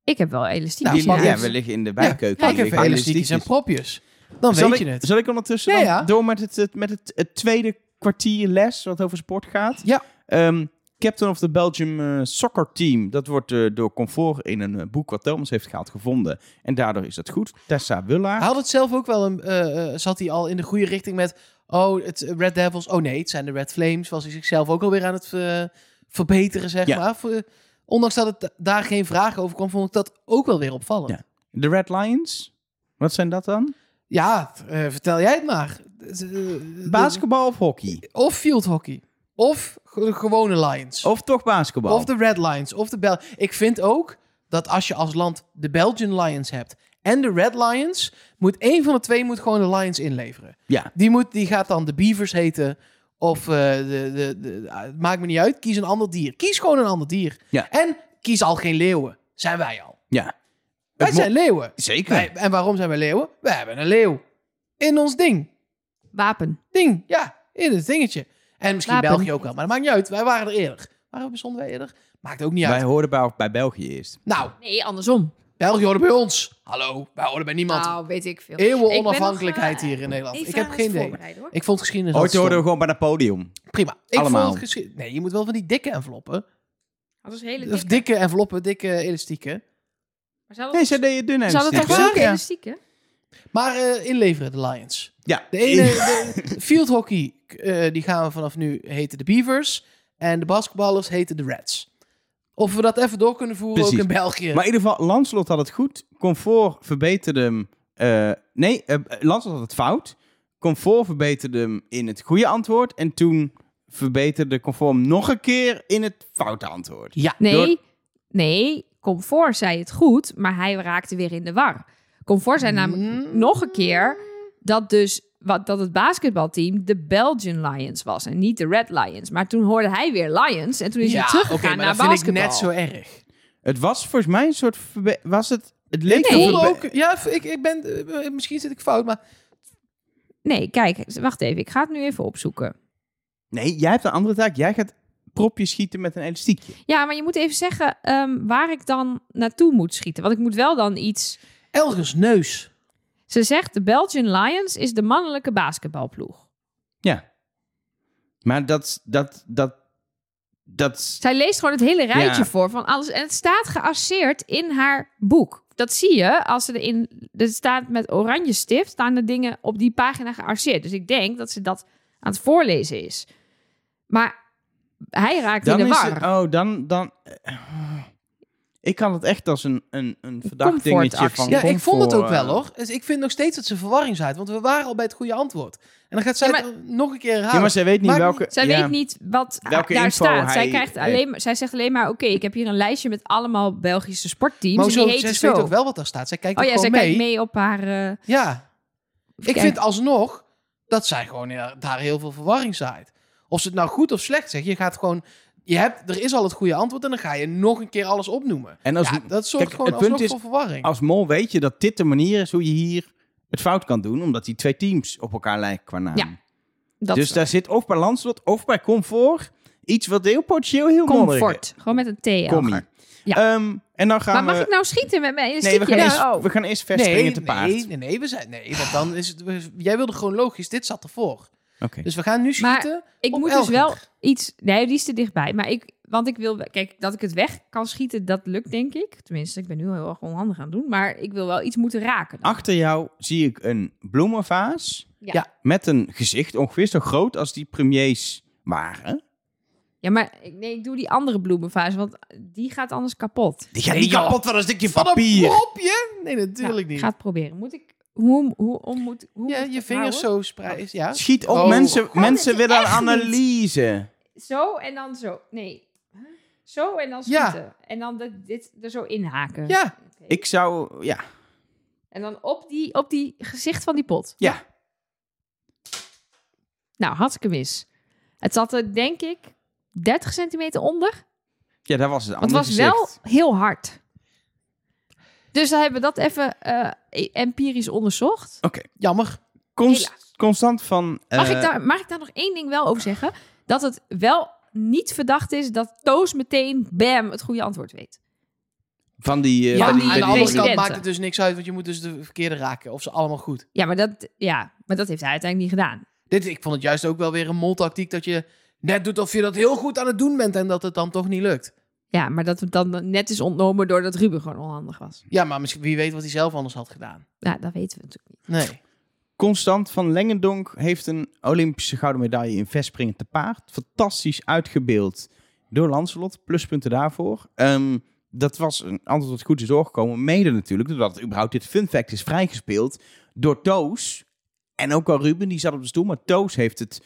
B: Ik heb wel elastiekjes
A: Nou,
B: in
A: pak
B: huis.
C: ja,
A: even-
C: we liggen in de
A: Ja,
C: bijkeuken.
A: Pak
C: Hier
A: even
C: liggen
A: elastiekjes en propjes. Dan
C: Zal
A: weet
C: ik-
A: je het.
C: Zal ik ondertussen
A: Ja,
C: dan
A: ja.
C: door met, het, het- met het, het tweede kwartier les wat over sport gaat?
A: Ja.
C: Ehm, Captain of the Belgium eh, Soccer Team. Dat wordt eh, door Comfort in een eh, boek wat Thomas heeft gehaald gevonden. En daardoor is dat goed. Tessa Wullaar.
A: Hij had het zelf ook wel een. eh, eh, zat hij al in de goede richting met. Oh, het Red Devils. Oh nee, het zijn de Red Flames. Was hij zichzelf ook alweer aan het eh, verbeteren, zeg
C: Ja.
A: maar. Voor- eh, ondanks dat het da- daar geen vraag over kwam, vond ik dat ook wel weer opvallend.
C: Ja. De Red Lions. Wat zijn dat dan?
A: Ja, eh, vertel jij het maar. Eh, eh,
C: Basketbal of hockey?
A: Of field hockey. Of ge- gewone Lions.
C: Of toch basketbal?
A: Of de Red Lions. Of de Bel. Ik vind ook dat als je als land de Belgian Lions hebt en de Red Lions, moet één van de twee moet gewoon de Lions inleveren.
C: Ja.
A: Die, moet, die gaat dan de Beavers heten. Of eh, de, de, de, ah, het maakt me niet uit. Kies een ander dier. Kies gewoon een ander dier.
C: Ja.
A: En kies al geen leeuwen. Zijn wij al.
C: Ja.
A: Wij
C: Het mo-
A: zijn leeuwen.
C: Zeker.
A: Wij- en waarom zijn wij leeuwen? Wij hebben een leeuw. In ons ding.
B: Wapen.
A: Ding. Ja, in het dingetje. En misschien
B: Wapen.
A: België ook wel. Maar dat maakt niet uit. Wij waren er eerder. Waarom bestonden wij eerder? Maakt ook niet
C: Wij
A: uit.
C: hoorden bij, bij België eerst.
A: Nou,
B: Nee, andersom.
A: België hoorde bij ons. Hallo, wij hoorden bij niemand.
B: Nou, weet ik veel.
A: Eeuwen
B: Ik ben
A: onafhankelijkheid
B: nog, eh,
A: hier in Nederland.
B: even
A: Ik heb
B: aan
A: geen
B: het
A: idee.
B: voorbereiden, hoor.
A: Ik vond geschiedenis
C: Ooit
A: altijd
C: hoorden we
A: stom.
C: gewoon bij het podium.
A: Prima. Ik
C: Allemaal.
A: vond geschiedenis... Nee, je moet wel van die dikke enveloppen.
B: Dat was hele
A: Of
B: dikke.
A: dikke enveloppen, dikke elastieken.
B: Maar ze hadden,
C: Nee, zij deden dun en
B: ze hadden
C: stikken.
B: toch
A: elastieken?
B: zulke
A: Ja.
B: elastieken?
A: Maar eh, inleveren de Lions.
C: Ja.
A: De ene, de field hockey, eh, die gaan we vanaf nu heten de Beavers. En de basketballers heten de Reds. Of we dat even door kunnen voeren,
C: Precies.
A: ook in België.
C: Maar in ieder geval, Lancelot had het goed. Comfort verbeterde hem. eh, nee, eh, Lancelot had het fout. Comfort verbeterde hem in het goede antwoord. En toen verbeterde Comfort hem nog een keer in het foute antwoord.
A: Ja,
B: Nee,
C: Door-
B: nee. Comfort zei het goed, maar hij raakte weer in de war. Comfort zei namelijk
A: Mm.
B: nog een keer dat dus wat, dat het basketbalteam de Belgian Lions was en niet de Red Lions. Maar toen hoorde hij weer Lions en toen is
A: ja,
B: hij
A: oké,
B: teruggegaan
A: maar
B: naar
A: dat vind ik
B: basketbal.
A: net zo erg.
C: Het was volgens mij een soort... verbe- Was het... Het leek
B: Nee.
C: een
A: Ik voelde
C: verbe-
A: ook, ja, ik, ik ben, eh, misschien zit ik fout, maar
B: Nee, kijk, wacht even. Ik ga het nu even opzoeken.
C: Nee, jij hebt een andere taak. Jij gaat propjes schieten met een elastiekje.
B: Ja, maar je moet even zeggen ehm, waar ik dan naartoe moet schieten. Want ik moet wel dan iets...
A: Elgers neus.
B: Ze zegt de Belgian Lions is de mannelijke basketbalploeg.
C: Ja. Maar dat... Dat... Dat... dat
B: Zij leest gewoon het hele rijtje
C: Ja.
B: voor van alles. En het staat geasseerd in haar boek. Dat zie je als ze erin. Er staat met oranje stift. staan de dingen op die pagina gearseerd. Dus ik denk dat ze dat aan het voorlezen is. Maar hij raakt
C: Dan
B: in de
C: is
B: war.
C: het, oh, dan, dan... eh, Ik kan het echt als een, een, een verdacht dingetje
B: comfortactie.
C: van
A: Ja, ik vond het
C: comfort,
A: ook
C: eh,
A: wel hoor. Dus ik vind nog steeds dat ze verwarring zaait, want we waren al bij het goede antwoord. En dan gaat zij
B: Ja,
A: het nog een keer herhalen.
C: Ja, Ah, maar zij weet niet
A: Maakt
C: welke...
B: Zij
C: ja.
B: weet niet wat
C: Welke
B: daar
C: info
B: staat. Zij,
C: hij
B: krijgt
C: heeft.
B: alleen, maar- zij zegt alleen maar: Oké, ik heb hier een lijstje met allemaal Belgische sportteams.
A: Maar
B: en
A: hoezo?
B: die heten
A: zij
B: zo.
A: weet ook wel wat daar staat. Zij kijkt
B: oh
A: ook
B: ja, zij
A: gewoon
B: kijkt
A: mee.
B: mee op haar. eh,
A: Ja. Ik
B: kijken.
A: vind alsnog dat zij gewoon eh, daar heel veel verwarring zaait. Of ze het nou goed of slecht zegt. Je gaat gewoon... Je hebt, er is al het goede antwoord en dan ga je nog een keer alles opnoemen.
C: En als,
A: ja, dat zorgt
C: kijk,
A: gewoon
C: het punt
A: alsnog
C: is- Oh,
A: voor verwarring.
C: als mol weet je dat dit de manier is hoe je hier het fout kan doen. Omdat die twee teams op elkaar lijken qua naam.
B: Ja, dat
C: dus daar zit of bij landslot of bij comfort iets wat heel potentieel heel modderig
B: comfort. Gewoon met een T.
C: is.
B: Elger.
C: Commie.
B: Ja.
C: Ehm, en dan gaan
B: Maar mag
C: we...
B: ik nou schieten met mijn
C: nee, we
B: elastiekje?
C: gaan, eerst,
B: Ja, oh.
C: we gaan eerst verspringen te paard.
A: nee, nee, nee, we zijn, nee, want dan is het, we- jij wilde chronologisch, dit zat ervoor.
C: Oké.
A: Dus we gaan nu
B: Maar
A: schieten.
B: Ik
A: op
B: moet dus
A: Elger.
B: wel iets. Nee, die is te dichtbij. Maar ik, want ik wil. Kijk, dat ik het weg kan schieten, dat lukt denk ik. Tenminste, ik ben nu heel erg onhandig aan het doen. Maar ik wil wel iets moeten raken. dan.
C: Achter jou zie ik een bloemenvaas
B: Ja.
A: Ja.
C: met een gezicht ongeveer zo groot als die premiers waren.
B: Ja, maar ik, nee, ik doe die andere bloemenvaas, want die gaat anders kapot.
C: Die gaat
A: Nee,
C: niet
A: joh.
C: kapot van een stukje
A: Van een
C: papier.
A: propje? Nee, natuurlijk
B: Nou, Ik
A: niet.
B: ga het proberen. Moet ik. Hoe, hoe, hoe moet hoe
A: ja,
B: moet ik
A: je
B: het
A: vingers
B: houden?
A: zo spreid. Ja.
C: Schiet op,
A: Oh.
C: mensen,
A: God,
C: mensen
B: dit is
C: willen een
B: echt niet.
C: analyse.
B: Zo en dan zo. Nee. Huh? Zo en dan
A: Ja.
B: schieten. En dan dit, dit er zo inhaken.
A: Ja,
B: Oké.
C: Ik zou, ja,
B: En dan op die, op die gezicht van die pot.
C: ja.
B: Nou, had ik hem mis. Het zat er, denk ik, 30 centimeter onder.
C: Ja, daar was het
B: Maar Het
C: andere
B: was wel
C: gezicht.
B: heel hard. Dus dan hebben we dat even eh, empirisch onderzocht.
A: jammer.
C: Const-
B: Helaas.
C: constant van... eh,
B: Mag, ik daar, mag ik daar nog één ding wel over zeggen? Dat het wel niet verdacht is dat Toos meteen, bam, het goede antwoord weet.
C: Van die... eh,
B: Ja,
C: bij
A: maar
C: die,
A: aan
C: bij
A: de
C: die-
A: andere kant
B: presidenten.
A: maakt het dus niks uit, want je moet dus de verkeerde raken. Of ze allemaal goed.
B: Ja, maar dat, ja, maar dat heeft hij uiteindelijk niet gedaan.
A: Dit, ik vond het juist ook wel weer een moltactiek dat je net doet of je dat heel goed aan het doen bent en dat het dan toch niet lukt.
B: Ja, maar dat het dan net is ontnomen doordat Ruben gewoon onhandig was.
A: Ja, maar misschien, wie weet wat hij zelf anders had gedaan.
B: Ja, dat weten we natuurlijk niet.
A: Nee.
C: Constant van Lengendonk heeft een Olympische gouden medaille in verspringen te paard. Fantastisch uitgebeeld door Lancelot. Pluspunten daarvoor. Ehm, dat was een antwoord dat goed is doorgekomen. Mede natuurlijk, doordat het überhaupt dit fun fact is vrijgespeeld door Toos. En ook al Ruben, die zat op de stoel. Maar Toos heeft het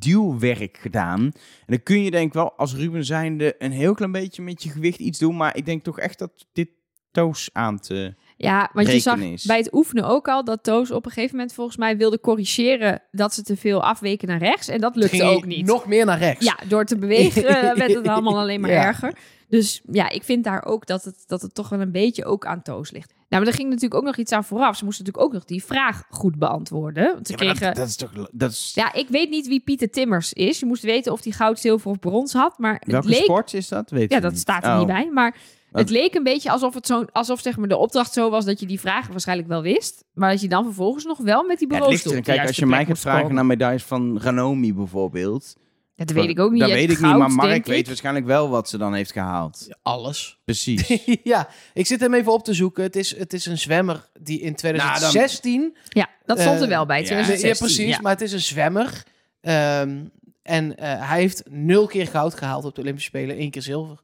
C: duwwerk gedaan. En dan kun je denk ik wel als Ruben zijnde een heel klein beetje met je gewicht iets doen. Maar ik denk toch echt dat dit Toos aan te...
B: Ja, want je zag
C: Rekenen is.
B: bij het oefenen ook al dat Toos op een gegeven moment volgens mij wilde corrigeren dat ze te veel afweken naar rechts. En dat lukte
A: Ging hij
B: ook niet.
A: Nog meer naar rechts.
B: Ja, door te bewegen eh, werd het allemaal alleen maar
A: Ja.
B: erger. Dus ja, ik vind daar ook dat het, dat het toch wel een beetje ook aan toos ligt. Nou, maar er ging natuurlijk ook nog iets aan vooraf. Ze moesten natuurlijk ook nog die vraag goed beantwoorden. Want ze
C: Ja, maar dat-
B: kregen...
C: dat, is toch... Dat is...
B: Ja, ik weet niet wie Pieter Timmers is. Je moest weten of hij goud, zilver of brons had. Maar het
C: Welke
B: leek...
C: sport is dat? Weet
B: Ja,
C: ik
B: dat
C: niet.
B: staat er
C: Oh.
B: niet bij. Maar
C: Wat?
B: het leek een beetje alsof, het zo, alsof zeg maar, de opdracht zo was dat je die vragen waarschijnlijk wel wist. Maar dat je dan vervolgens nog wel met die
C: Ja, het ligt
B: bureaustoel
C: er-
B: op de
C: Kijk, als
B: juiste
C: je mij
B: plek
C: gaat
B: moest
C: vragen
B: komen.
C: naar medailles van Ranomi bijvoorbeeld.
B: Ja, Dat weet ik ook niet.
C: Dat
B: Je
C: weet
B: hebt
C: ik niet, maar
B: goud,
C: Mark
B: denk
C: weet
B: ik.
C: waarschijnlijk wel wat ze dan heeft gehaald.
A: Alles.
C: Precies.
A: ja, ik zit hem even op te zoeken. Het is, het is een zwemmer die
C: Nou,
A: in 2016...
B: Ja, dat stond er
A: Eh,
B: wel bij.
C: ja.
A: Nee,
B: 2016.
A: ja, precies.
B: Ja.
A: Maar het is een zwemmer. Ehm, en eh, hij heeft nul keer goud gehaald op de Olympische Spelen. één keer zilver.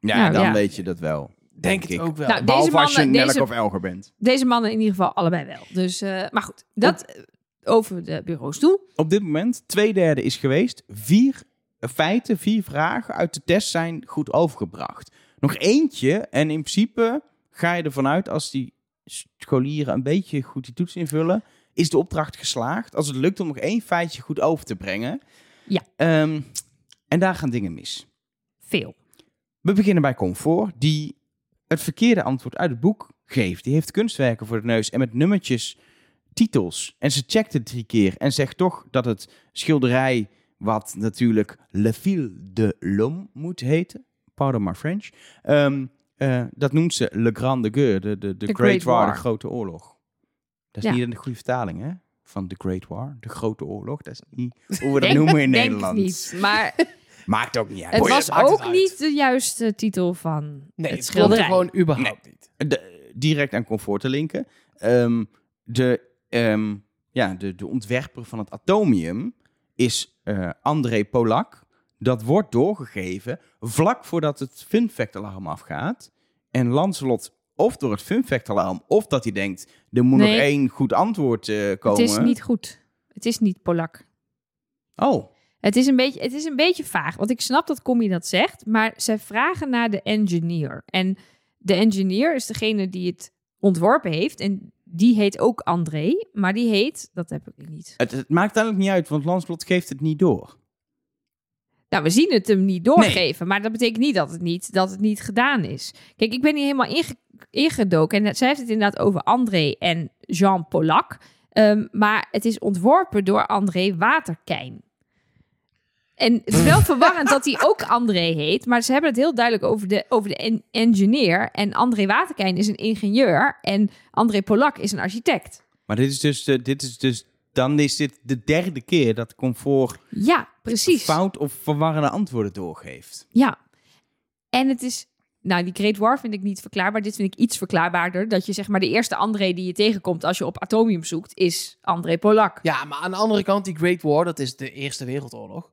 C: ja,
B: Nou,
C: dan
B: ja.
C: weet je dat wel.
A: Denk,
C: Denk
A: het
C: ik.
A: ook wel.
B: Nou,
C: Behalve
B: Deze
C: als je
B: mannen-
C: Nelk
B: deze-
C: of Elger bent.
B: Deze mannen in ieder geval allebei wel. Dus, eh, maar goed, dat eh, over de bureaustoel.
C: Op dit moment, twee derde is geweest. Vier feiten, vier vragen uit de test zijn goed overgebracht. Nog eentje en in principe ga je ervan uit als die scholieren een beetje goed die toets invullen, is de opdracht geslaagd. Als het lukt om nog één feitje goed over te brengen.
B: Ja.
C: Ehm, en daar gaan dingen mis.
B: Veel.
C: We beginnen bij Comfort, die het verkeerde antwoord uit het boek geeft. Die heeft kunstwerken voor de neus en met nummertjes titels. En ze checkt het drie keer en zegt toch dat het schilderij, wat natuurlijk Le Fil de l'Homme moet heten, pardon my French, ehm, eh, dat noemt ze Le Grande Guerre, de, de, de
B: The
C: Great,
B: Great
C: War,
B: War.
C: de Grote Oorlog. Dat is
B: Ja.
C: niet een goede vertaling, hè? Van The Great War, de Grote Oorlog. Dat is niet hoe we dat
B: Denk-
C: noemen in
B: denk
C: Nederland.
B: niet. Maar
C: Maakt ook niet uit.
B: het
A: Boeien,
B: was
A: maakt het
B: ook
A: uit.
B: niet de juiste titel van
A: nee,
B: het
A: het
B: schilderij.
A: klopt gewoon überhaupt niet.
C: de- direct aan comfort te linken. Ehm, de, ehm, ja, de, de ontwerper van het atomium is eh, André Polak. Dat wordt doorgegeven vlak voordat het fun fact alarm afgaat. En Lancelot of door het fun fact alarm, of dat hij denkt, er moet
B: Nee.
C: nog één goed antwoord eh,
B: Het
C: komen.
B: is niet goed. Het is niet Polak.
C: Oh,
B: Het is, een beetje, het is een beetje vaag, want ik snap dat Commie dat zegt, maar zij vragen naar de engineer. En de engineer is degene die het ontworpen heeft en die heet ook André, maar die heet, dat heb ik niet.
C: het, het maakt eigenlijk niet uit, want Lancelot geeft het niet door.
B: Nou, we zien het hem niet doorgeven, maar dat betekent niet dat het niet, dat het niet gedaan is. Kijk, ik ben hier helemaal inge- ingedoken en zij heeft het inderdaad over André en Jean Polak, Ehm, maar het is ontworpen door André Waterkijn. En het is wel verwarrend dat hij ook André heet, maar ze hebben het heel duidelijk over de, over de en- engineer. En André Waterkijn is een ingenieur en André Polak is een architect.
C: Maar dit is dus, eh, dit is dus dan is dit de derde keer dat Comfort
B: Ja, precies.
C: fout of verwarrende antwoorden doorgeeft.
B: Ja. En het is... Nou, die Great War vind ik niet verklaarbaar. Dit vind ik iets verklaarbaarder. Dat je zeg maar de eerste André die je tegenkomt als je op Atomium zoekt, is André Polak.
A: Ja, maar aan de andere kant, die Great War, dat is de Eerste Wereldoorlog.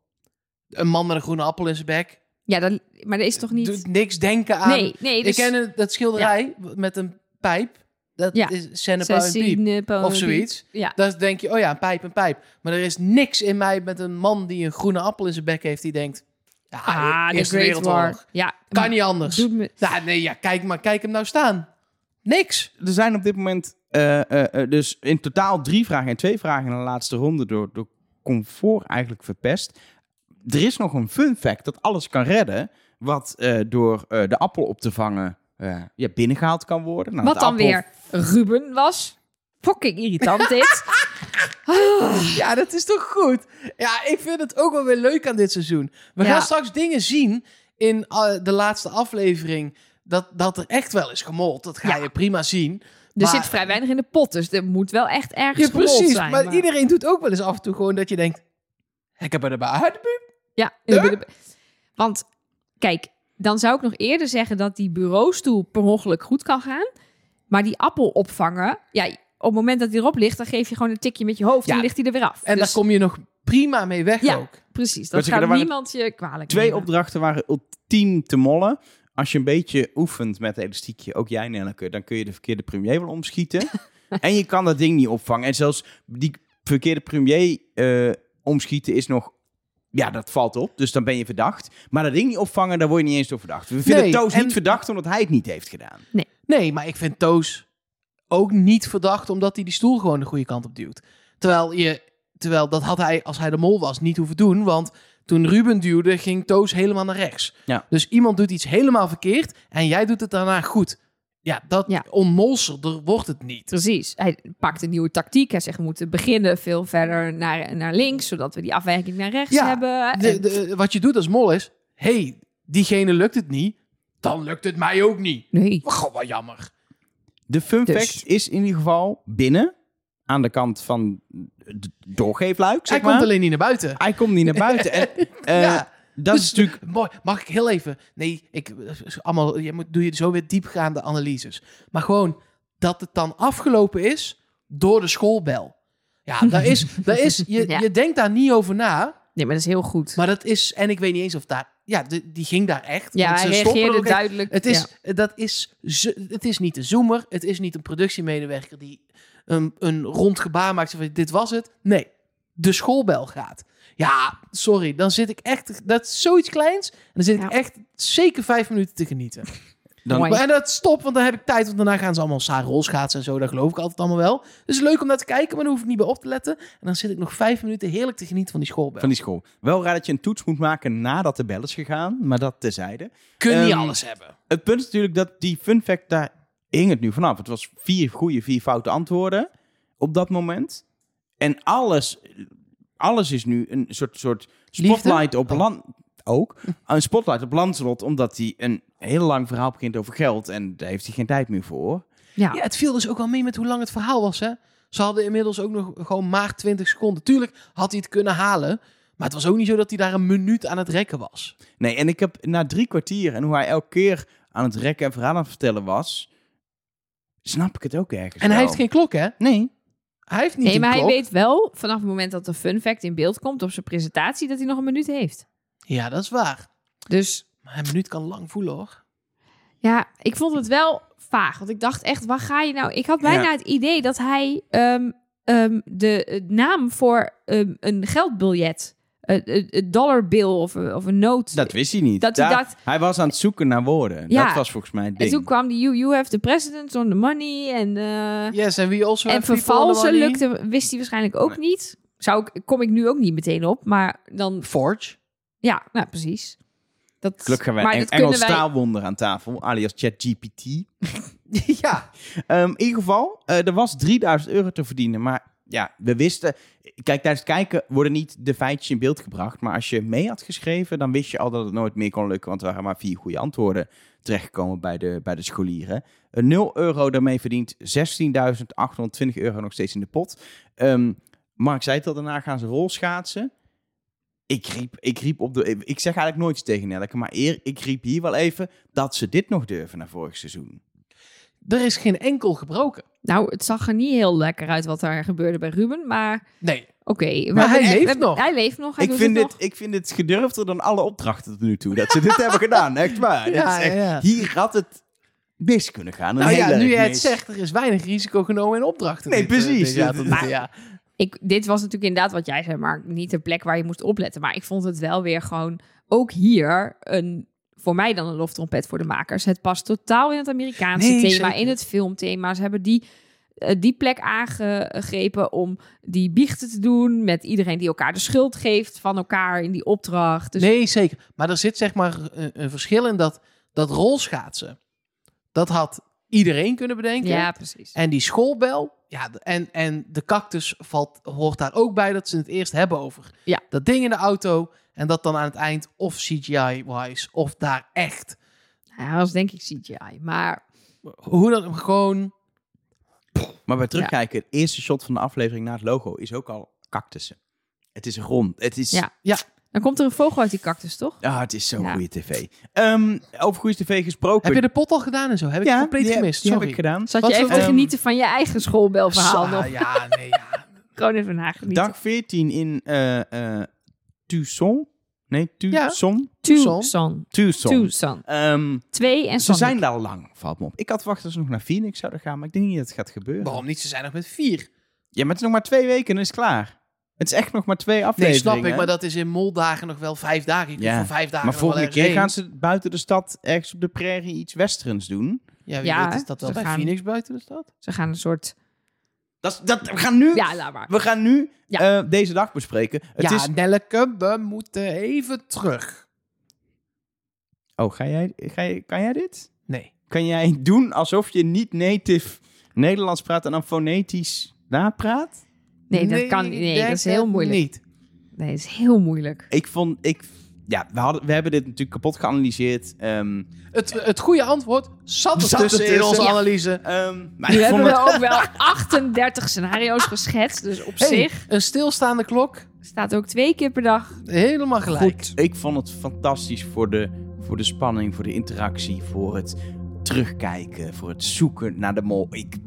A: Een man met een groene appel in zijn bek.
B: Ja, dan, maar dat is toch niet...
A: Doet niks denken aan...
B: Nee, nee. Dus
A: ah, Ik ken het- dat schilderij met een pijp. Dat
B: Ja.
A: is Senepa en Piep.
B: Sessinepo-
A: Of zoiets.
B: Ja.
A: Dan denk je, oh ja, een pijp, een pijp. Maar er is niks in mij met een man die een groene appel in zijn bek heeft... die denkt, ja,
B: Ah, de
A: e- Eerste
B: Great
A: Wereldoorlog.
B: War. Ja.
A: Kan niet anders.
B: Doet me...
A: Nou, nee, ja, kijk maar, kijk hem nou staan. Niks.
C: Er zijn op dit moment eh, eh, eh, dus in totaal drie vragen en twee vragen in de laatste ronde door, door Comfort eigenlijk verpest. Er is nog een fun fact dat alles kan redden, wat eh, door eh, de appel op te vangen eh, ja, binnengehaald kan worden. Nou,
B: Wat
C: de
B: dan
C: appel-
B: weer Ruben was. Fucking irritant dit.
A: Ja, dat is toch goed? Ja, ik vind het ook wel weer leuk aan dit seizoen. We
B: Ja.
A: gaan straks dingen zien in eh, de laatste aflevering. Dat, dat er echt wel is gemold. Dat ga
B: Ja.
A: je prima zien.
B: Er
A: Maar-
B: zit vrij weinig in de pot, dus er moet wel echt ergens
A: Ja,
B: gerold
A: precies.
B: zijn.
A: maar, iedereen doet ook wel eens af en toe gewoon dat je denkt... Ik heb er de baard.
B: Ja, in de binnen- want kijk, dan zou ik nog eerder zeggen dat die bureaustoel per ongeluk goed kan gaan. Maar die appel opvangen, ja, op het moment dat die erop ligt, dan geef je gewoon een tikje met je hoofd en
A: Ja.
B: dan ligt hij er weer af.
A: En
B: dus,
A: daar kom je nog prima mee weg
B: Ja.
A: ook.
B: precies,
C: Wat
B: dat
C: zeg je,
B: gaat
C: er waren
B: niemand je kwalijk
C: Twee
B: nemen.
C: opdrachten waren ultiem te mollen. Als je een beetje oefent met elastiekje, ook jij Nelleke, dan kun je de verkeerde premier wel omschieten. en je kan dat ding niet opvangen. En zelfs die verkeerde premier eh, omschieten is nog... Ja, dat valt op. Dus dan ben je verdacht. Maar dat ding niet opvangen, daar word je niet eens door verdacht. We vinden
A: Nee,
C: Toos
A: en-
C: niet verdacht omdat hij het niet heeft gedaan.
A: Nee, maar ik vind Toos ook niet verdacht omdat hij die stoel gewoon de goede kant op duwt. Terwijl, je, terwijl dat had hij, als hij de mol was, niet hoeven doen. Want toen Ruben duwde, ging Toos helemaal naar rechts.
C: Ja.
A: Dus iemand doet iets helemaal verkeerd en jij doet het daarna goed. Ja, dat
B: Ja.
A: onmolserder wordt het niet.
B: Precies, hij pakt een nieuwe tactiek. Hij zegt, we moeten beginnen veel verder naar, naar links, zodat we die afwijking naar rechts
A: Ja,
B: hebben.
A: De,
B: En-
A: de- wat je doet als mol is, hey, diegene lukt het niet, dan lukt het mij ook niet.
B: nee,
A: Goh, wat jammer.
C: De fun
B: Dus.
C: fact is in ieder geval binnen. Aan de kant van het doorgeefluik, zeg
A: Hij
C: maar.
A: komt alleen niet naar buiten.
C: Hij komt niet naar buiten. En, eh,
A: Ja.
C: Dat is natuurlijk
A: Mooi. Mag ik heel even... Nee, ik, allemaal, je moet, doe je zo weer diepgaande analyses. Maar gewoon dat het dan afgelopen is door de schoolbel. Ja, daar is, daar is, je,
B: Ja.
A: je denkt daar niet over na,
B: nee, maar dat is heel goed.
A: maar dat is... En ik weet niet eens of daar... Ja, de- die ging daar echt.
B: ja,
A: want
B: hij
A: ze stoppen er
B: reageerde
A: ook echt-
B: duidelijk.
A: Het is, dat is, ze- het is niet een zoomer, het is niet een productiemedewerker die een, een rond gebaar maakt. zo van, Dit was het. Nee, de schoolbel gaat. Ja, sorry, dan zit ik echt, dat is zoiets kleins. En dan zit
B: Ja.
A: ik echt zeker vijf minuten te genieten.
B: ja.
C: dan-
B: Mooi.
A: Maar, en dat stopt, want dan heb ik tijd, want daarna gaan ze allemaal Sarol schaatsen en zo. Dat geloof ik altijd allemaal wel. Dus leuk om naar te kijken, maar dan hoef ik niet bij op te letten. En dan zit ik nog vijf minuten heerlijk te genieten van die schoolbel.
C: Van die school. Wel raar dat je een toets moet maken nadat de bel is gegaan, maar dat tezijde.
A: Kun je niet
C: Ehm,
A: alles hebben.
C: Het punt is natuurlijk dat die fun fact, daar hing het nu vanaf. Het was vier goede, vier foute antwoorden op dat moment. En alles, alles is nu een soort, soort
A: Liefde?
C: spotlight op
A: Oh.
C: land. Ook een spotlight op Lancelot, omdat hij een heel lang verhaal begint over geld. En daar heeft hij geen tijd meer voor.
B: ja.
A: Ja, het viel dus ook wel mee met hoe lang het verhaal was, hè. Ze hadden inmiddels ook nog gewoon maar 20 seconden. Tuurlijk had hij het kunnen halen, maar het was ook niet zo dat hij daar een minuut aan het rekken was.
C: Nee, en ik heb na drie kwartier en hoe hij elke keer aan het rekken en verhaal aan het vertellen was, snap ik het ook ergens.
A: En hij
C: wel.
A: heeft geen klok, hè?
C: Nee.
A: Hij heeft niet
B: Nee,
A: een
B: maar hij
A: klok.
B: weet wel vanaf het moment dat de fun fact in beeld komt op zijn presentatie dat hij nog een minuut heeft.
A: Ja, dat is waar.
B: Dus
A: Maar een minuut kan lang voelen hoor.
B: Ja, ik vond het wel vaag. Want ik dacht echt, waar ga je nou? Ik had bijna
C: Ja.
B: het idee dat hij ehm, ehm, de eh, naam voor ehm, een geldbiljet, eh, eh, een dollarbill of, een- of een noot.
C: Dat wist hij niet.
B: Dat hij
C: Daar-
B: dat-
C: Hij was aan het zoeken naar woorden.
B: Ja.
C: Dat was volgens mij het
B: en
C: ding.
B: toen kwam die you, you have the president on the money. En, eh,
A: Yes, en wie also
B: en
A: have people on the
B: vervalsen
A: money?
B: lukte, wist hij waarschijnlijk ook niet. Zou ik, kom ik nu ook niet meteen op, maar dan,
A: Forge.
B: ja, nou precies. Dat,
C: Gelukkig hebben wij
B: maar
C: een
B: dat
C: Engels
B: kunnen wij-
C: taalwonder aan tafel, alias ChatGPT.
A: ja.
C: Ehm, in ieder geval, eh, er was 3000 euro te verdienen. Maar ja, we wisten. Kijk, tijdens het kijken worden niet de feitjes in beeld gebracht. Maar als je mee had geschreven, dan wist je al dat het nooit meer kon lukken. Want er waren maar vier goede antwoorden terechtgekomen bij de, bij de scholieren. Eh, 0 euro daarmee verdient 16.820 euro nog steeds in de pot. Ehm, Mark zei het al, daarna gaan ze rolschaatsen. Ik riep, ik riep op de. Ik zeg eigenlijk nooit iets tegen Nelke, maar eer, ik riep hier wel even dat ze dit nog durven naar vorig seizoen.
A: Er is geen enkel gebroken.
B: Nou, het zag er niet heel lekker uit wat daar gebeurde bij Ruben, maar...
A: Nee.
B: Oké, we
A: Maar hij
B: hebben-
A: leeft
B: we hebben-
A: nog.
B: Hij leeft nog. Hij
C: Ik
B: doet
C: vind,
B: het
C: dit, ik vind dit gedurfder dan alle opdrachten tot nu toe. Dat ze dit hebben gedaan, echt waar. Dit
A: Ja,
C: is echt-
A: ja, ja.
C: Hier had het mis kunnen gaan. Een
A: Nou ja,
C: heel erg
A: nu jij het
C: mis.
A: zegt, er is weinig risico genomen in opdrachten.
C: Nee,
A: dit, eh,
C: precies.
A: dit jaar tot nu toe,
B: Maar-
A: ja.
B: nog. Ik, dit was natuurlijk inderdaad wat jij zei, maar niet een plek waar je moest opletten. Maar ik vond het wel weer gewoon, ook hier, een, voor mij dan een loftrompet voor de makers. Het past totaal in het Amerikaanse
A: Nee,
B: thema,
A: zeker.
B: in het filmthema. Ze hebben die, eh, die plek aangegrepen om die biechten te doen met iedereen die elkaar de schuld geeft van elkaar in die opdracht. Dus
A: Nee, zeker. Maar er zit zeg maar een, een verschil in dat, dat rolschaatsen. Dat had iedereen kunnen bedenken.
B: ja, precies.
A: En die schoolbel, ja, d- en, en de cactus valt, hoort daar ook bij dat ze het eerst hebben over.
B: Ja.
A: Dat ding in de auto en dat dan aan het eind of CGI-wise of daar echt.
B: Ja, dat was denk ik CGI, maar
A: Hoe dan gewoon...
C: Maar bij terugkijken, het eerste shot van de aflevering na het logo is ook al cactussen. Het is rond. Het is,
B: Ja.
C: ja.
B: dan komt er een vogel uit die cactus, toch?
C: het is zo'n
B: Ja.
C: goede tv. Ehm, over goede tv gesproken.
A: Heb je de pot al gedaan en zo? Heb ik
C: ja,
A: compleet
C: die heb-
A: gemist,
C: die
A: sorry.
C: heb ik gedaan.
B: Zat
A: Wat
B: je even
A: voor-
B: te
C: Ehm,
B: genieten van je eigen schoolbelverhaal nog?
A: Sa- Ja, nee, ja.
B: Gewoon even nagenieten.
C: Dag 14 in eh, eh, Tucson. Nee,
A: Ja.
C: Tucson.
A: Tucson.
B: Tucson.
C: Tucson.
B: Tucson.
C: Ehm,
B: Twee en
C: ze
B: Sonic.
C: zijn daar lang, valt me op. Ik had verwacht dat ze nog naar Phoenix zouden gaan, maar ik denk niet dat het gaat gebeuren.
A: Waarom niet? Ze zijn nog met vier.
C: Ja, maar het is nog maar twee weken en dan is het klaar. Het is echt nog maar twee
A: Nee,
C: afleveringen.
A: snap ik.
C: hè?
A: Maar dat is in moldagen nog wel vijf dagen. Ik
C: Ja.
A: ja. voor vijf dagen
C: Maar
A: nog wel
C: volgende
A: ergens
C: keer gaan
A: heen.
C: ze buiten de stad ergens op de prairie iets westerns doen.
A: Ja, wie
B: Ja,
A: weet is dat wel
B: ze
A: bij
B: gaan-
A: Phoenix buiten de stad?
B: Ze gaan een soort...
C: Dat, is- dat, we gaan nu,
B: Ja, laat maar.
C: we gaan nu
B: Ja.
C: eh, deze dag bespreken. Het
A: ja,
C: is...
A: Nelleke, we moeten even terug.
C: Oh, ga jij, ga jij, kan jij dit?
A: Nee.
C: Kan jij doen alsof je niet native Nederlands praat en dan fonetisch napraat?
B: Nee, dat kan
A: ik
B: Nee,
A: denk
B: dat is heel
A: het
B: moeilijk.
A: Niet.
B: Nee, dat is heel moeilijk.
C: Ik vond... Ik, ja, we, hadden, we hebben dit natuurlijk kapot geanalyseerd. ehm,
A: Het, het goede antwoord zat
C: Zat
A: ertussen in
C: ertussen.
A: onze
C: Ja.
A: analyse.
C: ehm, maar
B: Nu
C: ik vond
B: hebben
C: het...
B: we ook wel 38 scenario's geschetst. Dus op
A: Hey,
B: zich
A: een stilstaande klok.
B: staat ook twee keer per dag.
A: Helemaal gelijk.
C: Goed. Ik vond het fantastisch voor de, voor de spanning, voor de interactie, voor het terugkijken, voor het zoeken naar de mol. Ik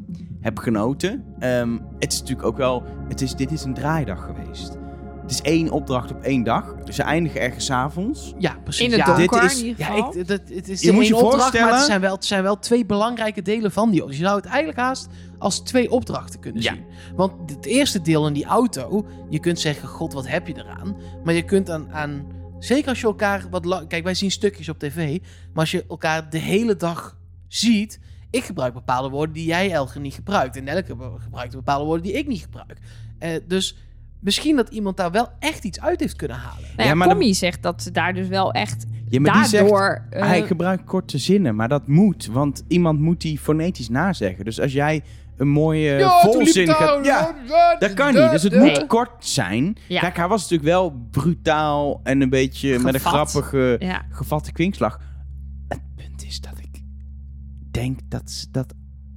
C: heb genoten. Ehm, het is natuurlijk ook wel. Het is, dit is een draaidag geweest. Het is één opdracht op één dag. Ze eindigen ergens 's avonds.
A: Ja, precies.
B: In het
A: ja.
C: Dit
B: donker
C: is-
B: in ieder
A: Ja,
B: geval.
A: ik, dat, het is
C: Je moet
A: één
C: je
A: opdracht, maar
C: voorstellen-
A: het zijn, wel, het zijn wel twee belangrijke delen van die opdracht. Je zou het eigenlijk haast als twee opdrachten kunnen
C: Ja.
A: zien. Want het eerste deel in die auto, je kunt zeggen, god, wat heb je eraan? Maar je kunt aan, aan zeker als je elkaar wat lang... Kijk, wij zien stukjes op tv, maar als je elkaar de hele dag ziet... Ik gebruik bepaalde woorden die jij, Elger, niet gebruikt. En Nelke be- gebruikt bepaalde woorden die ik niet gebruik. Eh, dus misschien dat iemand daar wel echt iets uit heeft kunnen halen.
B: Nou ja,
C: Ja, maar
B: Commie zegt dat ze daar dus wel echt
C: Ja, maar die zegt,
B: daardoor... eh,
C: Hij gebruikt korte zinnen, maar dat moet. Want iemand moet die fonetisch nazeggen. Dus als jij een mooie Eh, volzin gaat... Ja, Dat kan niet, dus het moet
B: Nee.
C: kort zijn.
B: Ja.
C: Kijk, hij was natuurlijk wel brutaal en een beetje met een
A: Gevat.
C: grappige
B: ja.
C: gevatte kwinkslag. Het punt is dat ik denk dat ze dat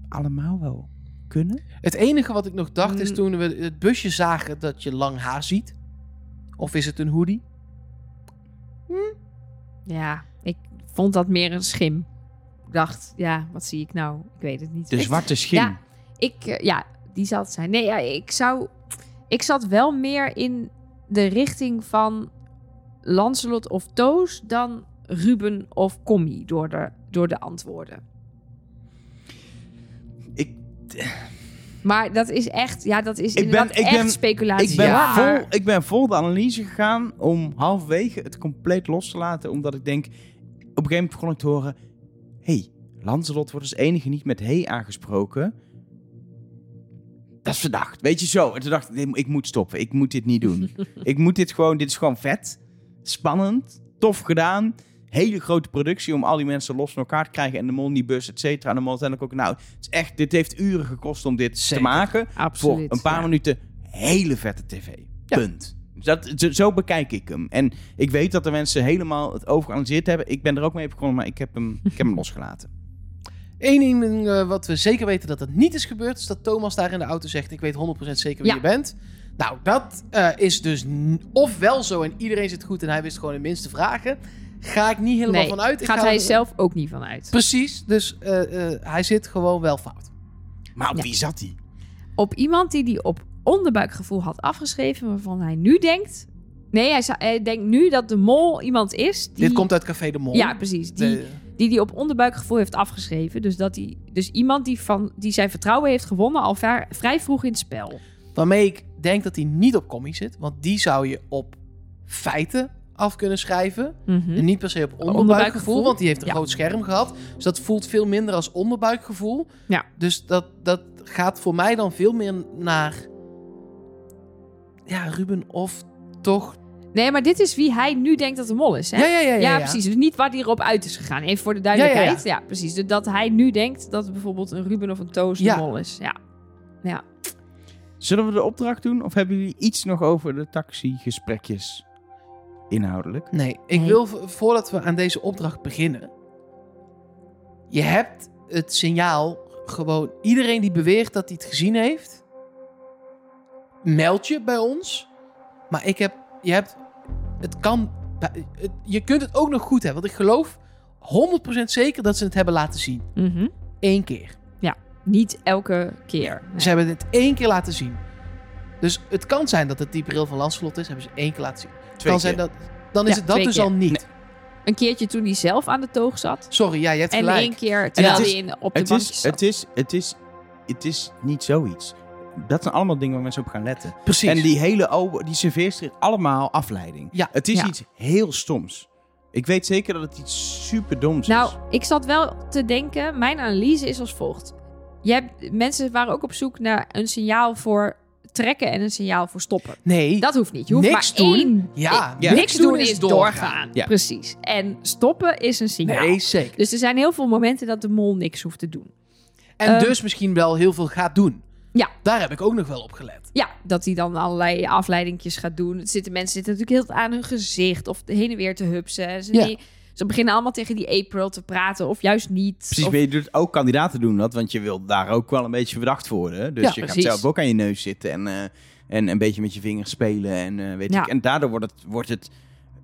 C: allemaal wel kunnen.
A: Het enige wat ik nog dacht is
B: Mm.
A: toen we het busje zagen dat je lang haar ziet. Of is het een hoodie?
B: ja, ik vond dat meer een schim. Ik dacht, ja, wat zie ik nou? Ik weet het niet.
C: De
B: Ik-
C: zwarte schim.
B: Ja. Ik, eh, ja, die zal het zijn. Nee, ja, ik zou... Ik zat wel meer in de richting van... Lancelot of Toos dan Ruben of Commie door de, door de antwoorden.
C: Ik-
B: Maar dat is echt, ja, dat is
C: ben-
B: inderdaad
C: ik
B: echt
C: ben-
B: speculatie.
C: Ik ben,
B: ja.
C: vol, ik ben vol de analyse gegaan om halverwege het compleet los te laten. Omdat ik denk, op een gegeven moment begon ik te horen... hey, Lancelot wordt als enige niet met hey aangesproken. Dat is verdacht. Weet je zo. En toen dacht ik, nee, ik moet stoppen. Ik moet dit niet doen. ik moet dit gewoon, dit is gewoon vet. Spannend. Tof gedaan. Hele grote productie om al die mensen los van elkaar te krijgen. En de Mondibus, et cetera. En de mol uiteindelijk ook, nou, het is echt, dit heeft uren gekost om dit
A: Zeker.
C: te maken voor
B: Absoluut,
C: een paar
B: ja.
C: minuten hele vette tv. Punt. Dus Dat, zo, zo bekijk ik hem. En ik weet dat de mensen helemaal het overgeanalyseerd hebben. Ik ben er ook mee begonnen, maar ik heb hem, ik heb hem losgelaten.
A: Eén ding eh, wat we zeker weten dat dat niet is gebeurd, is dat Thomas daar in de auto zegt: Ik weet 100% zeker wie
B: Ja.
A: je bent. Nou, dat eh, is dus n- of wel zo en iedereen zit goed en hij wist gewoon de minste vragen. Ga ik niet helemaal
B: Nee,
A: van uit. Ik
B: gaat
A: ga-
B: hij zelf ook niet vanuit.
A: Precies, dus eh, eh, hij zit gewoon wel fout.
C: Maar op
B: Ja.
C: wie zat hij?
B: op iemand die die op onderbuikgevoel had afgeschreven, waarvan hij nu denkt. Nee, hij, zou- hij denkt nu dat de mol iemand is. Die,
A: Dit komt uit Café de Mol.
B: Ja, precies. Die,
A: De-
B: die die op onderbuikgevoel heeft afgeschreven. Dus, dat die, dus iemand die, van, die zijn vertrouwen heeft gewonnen al va- vrij vroeg in het spel.
A: waarmee ik denk dat hij niet op commie zit, want die zou je op feiten af kunnen schrijven. En niet per se op onderbuikgevoel,
B: Hm? Onderbuikgevoel.
A: want die heeft een
B: Ja.
A: groot scherm gehad. Dus dat voelt veel minder als onderbuikgevoel.
B: Ja.
A: Dus dat, dat gaat voor mij dan veel meer naar... Ja, Ruben of toch...
B: Nee, maar dit is wie hij nu denkt dat de mol is. Hè?
A: ja, ja,
B: precies. Dus niet waar hij erop uit is gegaan. Even voor de duidelijkheid. Ja, precies. Dus dat hij nu denkt dat bijvoorbeeld een Ruben of een Toos
A: Ja.
B: de mol is. Ja.
C: Zullen we de opdracht doen? Of hebben jullie iets nog over de taxigesprekjes inhoudelijk?
A: Nee, ik
B: Nee.
A: wil vo- voordat we aan deze opdracht beginnen... Je hebt het signaal gewoon... Iedereen die beweert dat hij het gezien heeft... Meld je bij ons. Maar ik heb... Je hebt... Het kan... bij- het- je kunt het ook nog goed hebben. Want ik geloof 100% zeker dat ze het hebben laten zien.
B: Mhm.
A: Eén keer.
B: Niet elke keer. Nee.
A: Ze hebben het één keer laten zien. Dus het kan zijn dat het die bril van Lancelot is. Hebben ze één keer laten zien. Het
C: Twee
A: kan
C: keer.
A: zijn dat... Dan is
B: Ja,
A: het dat
B: twee
A: dus
B: keer.
A: al niet.
B: Een keertje toen hij zelf aan de toog zat.
A: Sorry, ja, je hebt
B: En
A: gelijk.
B: één keer terwijl
A: het
B: hij
A: is-
B: in, op de
C: Het
B: bank
C: is,
B: zat.
C: het, is, het, is, het is niet zoiets. Dat zijn allemaal dingen waar mensen op gaan letten.
A: Precies.
C: En die hele oude, die serveerster, allemaal afleiding.
A: Ja.
C: Het is
B: Ja.
C: iets heel stoms. Ik weet zeker dat het iets super doms
B: Nou,
C: is.
B: ik zat wel te denken, mijn analyse is als volgt. Je hebt, mensen waren ook op zoek naar een signaal voor trekken en een signaal voor stoppen.
A: Nee,
B: Dat hoeft niet. Je hoeft
A: Niks
B: maar
A: doen.
B: één.
A: Ja,
B: i-
A: ja.
B: niks doen is doorgaan.
C: Ja.
B: Precies. En stoppen is een signaal.
A: nee, zeker.
B: Dus er zijn heel veel momenten dat de mol niks hoeft te doen.
A: En
B: Ehm,
A: dus misschien wel heel veel gaat doen.
B: Ja.
A: Daar heb ik ook nog wel op gelet.
B: Ja, dat hij dan allerlei afleidingjes gaat doen. Het zitten, mensen zitten natuurlijk heel de tijd aan hun gezicht of heen en weer te hupsen. En Ze,
A: Ja.
B: die- ze beginnen allemaal tegen die April te praten of juist niet.
C: Precies,
B: Of-
C: maar je doet ook kandidaten doen dat, want je wilt daar ook wel een beetje verdacht worden. Dus
A: Ja,
C: je
B: precies.
C: gaat zelf ook aan je neus zitten en, eh, en een beetje met je vingers spelen en eh, weet
B: Ja.
C: ik. En daardoor wordt het, wordt het,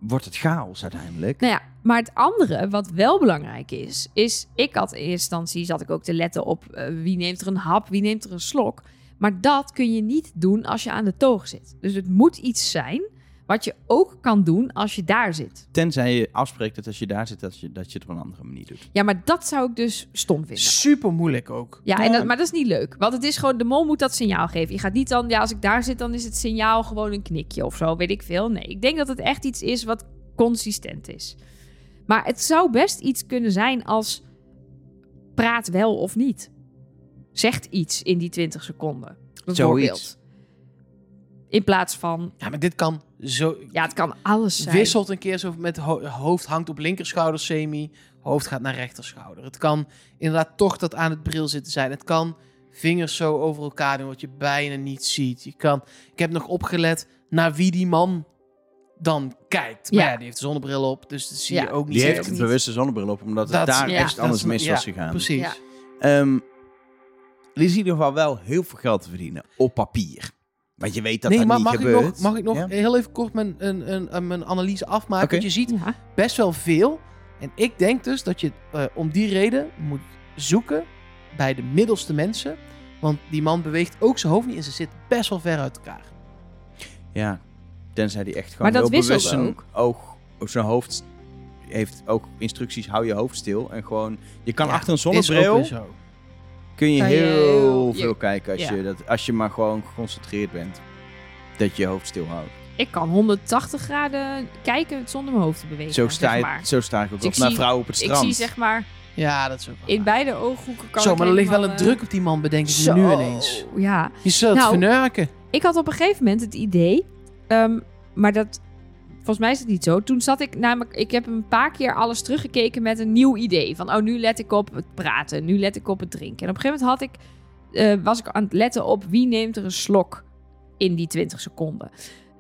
C: wordt het chaos uiteindelijk.
B: Nou ja, maar het andere wat wel belangrijk is, is ik had in eerste instantie zat ik ook te letten op eh, wie neemt er een hap, wie neemt er een slok. Maar dat kun je niet doen als je aan de toog zit. Dus het moet iets zijn wat je ook kan doen als je daar zit.
C: Tenzij je afspreekt dat als je daar zit, dat je, dat je het op een andere manier doet.
B: Ja, maar dat zou ik dus stom vinden.
A: Super moeilijk ook.
B: Ja, en
C: Ja.
B: dat, maar dat is niet leuk. Want het is gewoon, de mol moet dat signaal geven. Je gaat niet dan, ja, als ik daar zit, dan is het signaal gewoon een knikje of zo, weet ik veel. Nee, ik denk dat het echt iets is wat consistent is. Maar het zou best iets kunnen zijn als praat wel of niet. Zegt iets in die 20 seconden. Bijvoorbeeld. In plaats van,
A: Ja, maar dit kan zo...
B: ja, het kan alles zijn.
A: wisselt een keer zo met ho- hoofd hangt op linkerschouder semi. Hoofd gaat naar rechterschouder. Het kan inderdaad toch dat aan het bril zitten zijn. Het kan vingers zo over elkaar doen wat je bijna niet ziet. Je kan... Ik heb nog opgelet naar wie die man dan kijkt. Maar
B: Ja.
A: ja, die heeft een zonnebril op, dus dat zie
B: Ja.
A: je ook niet.
C: Die heeft
A: echt.
C: een bewuste zonnebril op, omdat het
A: Dat-
C: daar
B: ja,
C: echt
A: dat
C: anders
A: is-
C: mis was
A: ja,
C: gegaan.
A: Precies.
B: Ja.
C: Ehm, er is in ieder geval wel heel veel geld te verdienen op papier. Want je weet dat
A: nee,
C: dat
A: maar
C: niet
A: mag ik,
C: gebeurt.
A: nog, mag ik nog
C: Ja?
A: heel even kort mijn, een, een, een- mijn analyse afmaken?
C: Oké.
A: Want je ziet
B: Ja.
A: best wel veel. En ik denk dus dat je eh, om die reden moet zoeken bij de middelste mensen. Want die man beweegt ook zijn hoofd niet en ze zitten best wel ver uit elkaar.
C: Ja, tenzij die echt
B: Maar
C: gewoon
B: dat
C: heel
B: wisselt
C: bewust zijn
B: ook.
C: oog op zijn hoofd heeft ook instructies, hou je hoofd stil. En gewoon, je kan
A: Ja,
C: achter een
A: Is ook weer
C: zonnebril,
A: zo.
C: kun je
B: Kan je
C: heel
B: heel-
C: veel kijken als,
B: ja.
C: je dat, als je maar gewoon geconcentreerd bent. Dat je je hoofd stilhoudt.
B: Ik kan 180 graden kijken zonder mijn hoofd te bewegen.
C: Zo sta,
B: zeg
C: je,
B: maar.
C: zo sta ik ook
B: Dus
C: op
B: ik
C: naar
B: zie-
C: vrouwen op het
B: Ik
C: strand.
B: zie zeg maar
A: Ja, dat is ook wel
B: in
A: waar.
B: beide ooghoeken kan
A: Zo,
B: ik
A: maar er ligt wel een
B: helemaal, eh,
A: druk op die man, bedenk ik me
B: zo.
A: nu ineens.
B: Ja.
A: Je zult
B: Nou,
A: vernurken.
B: Ik had op een gegeven moment het idee, ehm, maar dat volgens mij is het niet zo. Toen zat ik namelijk, ik heb een paar keer alles teruggekeken met een nieuw idee. Van oh, nu let ik op het praten, nu let ik op het drinken. En op een gegeven moment had ik, eh, was ik aan het letten op wie neemt er een slok in die 20 seconden.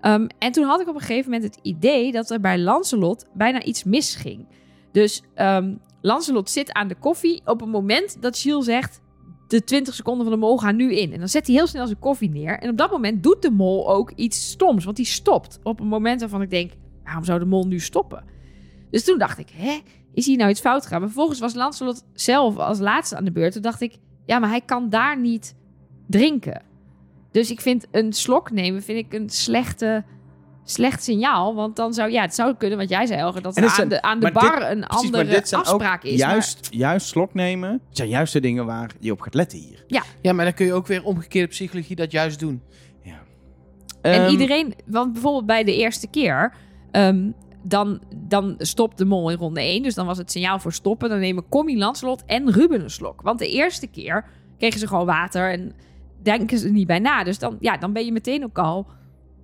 B: Ehm, en toen had ik op een gegeven moment het idee dat er bij Lancelot bijna iets misging. Dus ehm Lancelot zit aan de koffie op het moment dat Gilles zegt... de 20 seconden van de mol gaan nu in. En dan zet hij heel snel zijn koffie neer. En op dat moment doet de mol ook iets stoms. Want die stopt op een moment waarvan ik denk... waarom zou de mol nu stoppen? Dus toen dacht ik, hè, is hier nou iets fout gegaan? Maar vervolgens was Lancelot zelf als laatste aan de beurt. Toen dacht ik, ja, maar hij kan daar niet drinken. Dus ik vind een slok nemen vind ik een slechte, slecht signaal. Want dan zou, ja, het zou kunnen, wat jij zei, Elger... dat
C: En
B: er
C: het
B: aan
C: zijn-
B: de, aan de
C: maar dit-
B: bar een
C: precies, maar
B: andere
C: dit zijn ook
B: afspraak is. maar-
C: Juist, juist slok nemen zijn juist de dingen waar je op gaat letten hier.
A: Ja, maar dan kun je ook weer omgekeerde psychologie dat juist doen.
B: En
C: Ehm,
B: iedereen, want bijvoorbeeld bij de eerste keer, ehm, dan, dan stopt de mol in ronde 1. Dus dan was het signaal voor stoppen. Dan nemen Commie, Lancelot en Ruben een slok. Want de eerste keer kregen ze gewoon water en denken ze er niet bij na. Dus dan, ja, dan ben je meteen ook al.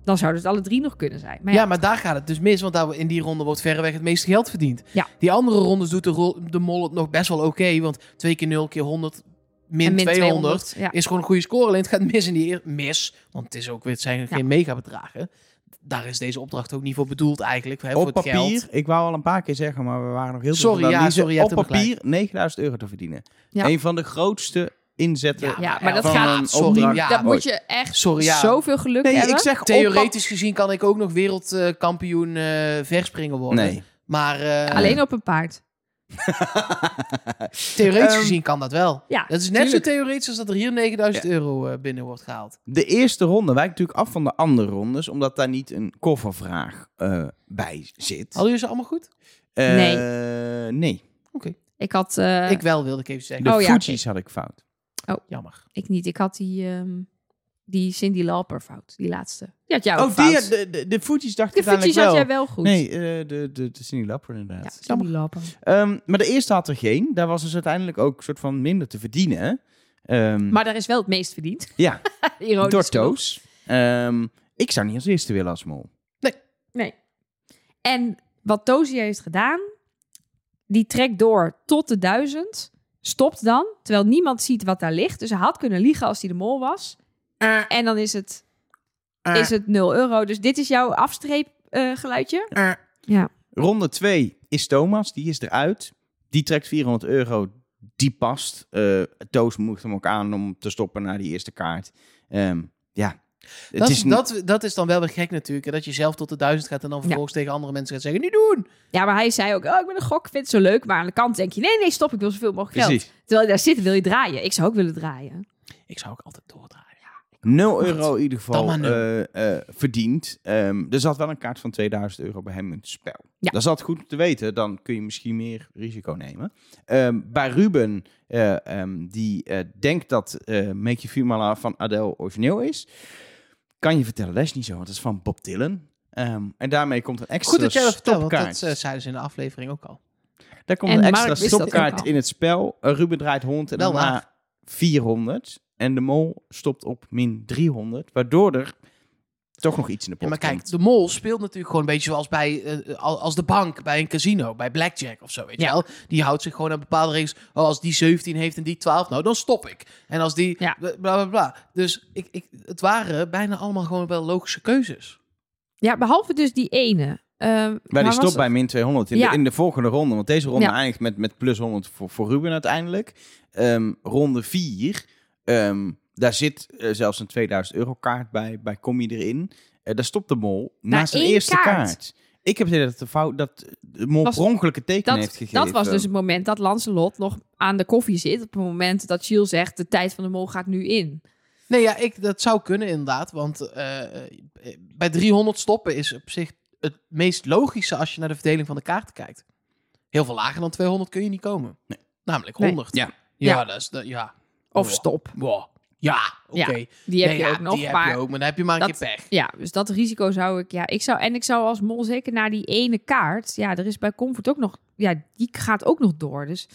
B: Dan zouden het alle drie nog kunnen zijn. Maar
A: ja.
B: ja,
A: maar daar gaat het dus mis, want daar, in die ronde wordt verreweg het meeste geld verdiend.
B: Ja.
A: Die andere rondes doet de, rol- de mol het nog best wel oké, want twee keer 0 keer 100 min,
B: en min
A: 200,
B: 200, ja.
A: is gewoon een goede score. Alleen het gaat mis in die eer- mis, want het, is ook, weer- het zijn geen megabedragen. Daar is deze opdracht ook niet voor bedoeld eigenlijk, hè, voor
C: op
A: het
C: papier,
A: geld.
C: ik wou al een paar keer zeggen, maar we waren nog heel
A: Sorry,
C: veel
A: ja,
C: analyse.
A: sorry, je hebt
C: Op
A: hem
C: papier 9000 euro te verdienen.
B: Ja.
C: Een van de grootste inzetten.
A: Ja,
B: Ja, maar dat
C: van
B: gaat.
C: een
A: sorry,
C: opdracht
A: ja,
B: dat
C: ooit.
B: moet je echt
A: Sorry, ja.
B: zoveel geluk
C: Nee,
B: hebben.
C: ik zeg op
A: Theoretisch gezien kan ik ook nog wereldkampioen eh verspringer
C: pap-
A: worden.
C: Nee.
A: Maar eh,
B: Alleen op een paard.
A: theoretisch
C: Ehm,
A: gezien kan dat wel.
B: Ja,
A: dat is net
C: tuurlijk.
A: zo theoretisch als dat er hier 9000 euro eh, binnen wordt gehaald.
C: De eerste ronde wijkt natuurlijk af van de andere rondes, omdat daar niet een koffervraag eh, bij zit.
B: Oh,
A: Hadden jullie ze allemaal goed?
C: Eh, Nee.
B: Ik had. eh,
A: ik wel, wilde ik even zeggen. Oh.
C: De
B: Oh ja,
C: Fuji's had ik fout.
A: Dus Jammer.
B: Ik niet. Ik had die, ehm, die Cindy Lauper fout. Die laatste. Die had jij ook
C: Oh,
B: fout.
C: die, ja, de, de, de Fuji's dacht
B: de
C: ik uiteindelijk
B: Fuji's
C: wel.
B: had jij wel goed.
C: Nee, eh, de, de, de Cindy Lapper
B: Ja,
C: inderdaad.
B: Cindy Lauper.
C: Ehm, maar de eerste had er geen. Daar was dus uiteindelijk ook een soort van minder te verdienen. Ehm,
B: Maar daar is wel het meest verdiend.
C: Ja,
B: Ironisch
C: door
B: genoeg.
C: Toos. Ehm, ik zou niet als eerste willen als mol.
B: En wat Toos hier heeft gedaan, die trekt door tot de duizend. Stopt dan, terwijl niemand ziet wat daar ligt. Dus hij had kunnen liegen als hij de mol was. En dan is het,
A: Eh.
B: is het 0 euro. Dus dit is jouw afstreep eh, geluidje.
C: Ronde 2 is Thomas, die is eruit. Die trekt 400 euro, die past. Eh, Toos moedigt hem ook aan om te stoppen naar die eerste kaart. Ehm, ja, het
A: Dat,
C: is
A: is
C: n-
A: dat, dat is dan wel weer gek natuurlijk. hè, Dat je zelf tot de duizend gaat en dan vervolgens tegen andere mensen gaat zeggen... Niet doen!
B: Ja, maar hij zei ook, oh, ik ben een gok, ik vind het zo leuk. Maar aan de kant denk je, nee, nee, stop, ik wil zoveel mogelijk geld.
C: precies.
B: Terwijl je daar zit, wil je draaien. Ik zou ook willen draaien.
A: Ik zou ook altijd doordraaien.
C: 0 euro in ieder
A: Dan
C: geval
A: maar nul.
C: eh, eh, verdiend. Ehm, er zat wel een kaart van 2000 euro bij hem in het spel.
B: Ja.
C: Dat is altijd goed om te weten. Dan kun je misschien meer risico nemen. Ehm, bij Ruben, eh, ehm, die eh, denkt dat eh, Make You Feel My Love van Adele origineel is. Kan je vertellen, dat is niet zo. Want dat is van Bob Dylan. Ehm, en daarmee komt een extra
A: Goed dat jij dat vertelt, want
C: stopkaart.
A: dat eh, zeiden ze in de aflevering ook al.
C: Daar komt
B: En
C: een
B: Mark
C: extra
B: wist dat
C: stopkaart
B: ook al.
C: in het spel. Eh, Ruben draait 100 en
A: Wel
C: daarna
A: waar.
C: 400. En de mol stopt op min 300. Waardoor er toch nog iets in de pot
A: Ja, maar
C: komt.
A: kijk, de mol speelt natuurlijk gewoon een beetje zoals bij, eh, al- als de bank, bij een casino, bij blackjack of zo, weet je wel. Die houdt zich gewoon aan bepaalde regels. Oh, als die 17 heeft en die 12, nou, dan stop ik. En als die...
B: Ja.
A: Bla, bla, bla. Dus ik, ik, het waren bijna allemaal gewoon wel logische keuzes.
B: Ja, behalve dus die ene. Ehm,
C: Maar die
B: was-
C: stopt bij min 200 in,
B: Ja.
C: de, in de volgende ronde. Want deze ronde
B: Ja.
C: eindigt met, met plus 100 voor, voor Ruben uiteindelijk. Ehm, ronde 4. daar zit eh, zelfs een 2000 euro kaart bij. Bij kom je erin. Eh, daar stopt de mol na zijn
B: één
C: eerste kaart.
B: kaart.
C: Ik heb het idee dat de, fout, dat de mol
B: Was-
C: per ongeluk het teken heeft
B: Dat,
C: gegeven.
B: dat was dus het moment dat Lancelot nog aan de koffie zit. Op het moment dat Gilles zegt, de tijd van de mol gaat nu in.
A: Nee, ja, ik, dat zou kunnen inderdaad. Want eh, eh, bij 300 stoppen is op zich het meest logische als je naar de verdeling van de kaarten kijkt. Heel veel lager dan 200 kun je niet komen. Namelijk
B: Nee.
A: 100.
C: Ja.
A: Ja,
B: Ja.
A: dat is... Dat, ja.
B: Of
A: Wow.
B: stop.
A: Wow. Ja, oké.
B: Ja, Die heb
A: Oh. Nee,
B: je
A: ja,
B: ook nog.
A: Die
B: maar
A: heb je ook, maar dan heb je maar een
B: dat-
A: keer pech.
B: Ja, dus dat risico zou ik, ja, ik zou, en ik zou als mol zeker naar die ene kaart, ja, er is bij Comfort ook nog, ja, die gaat ook nog door. Dus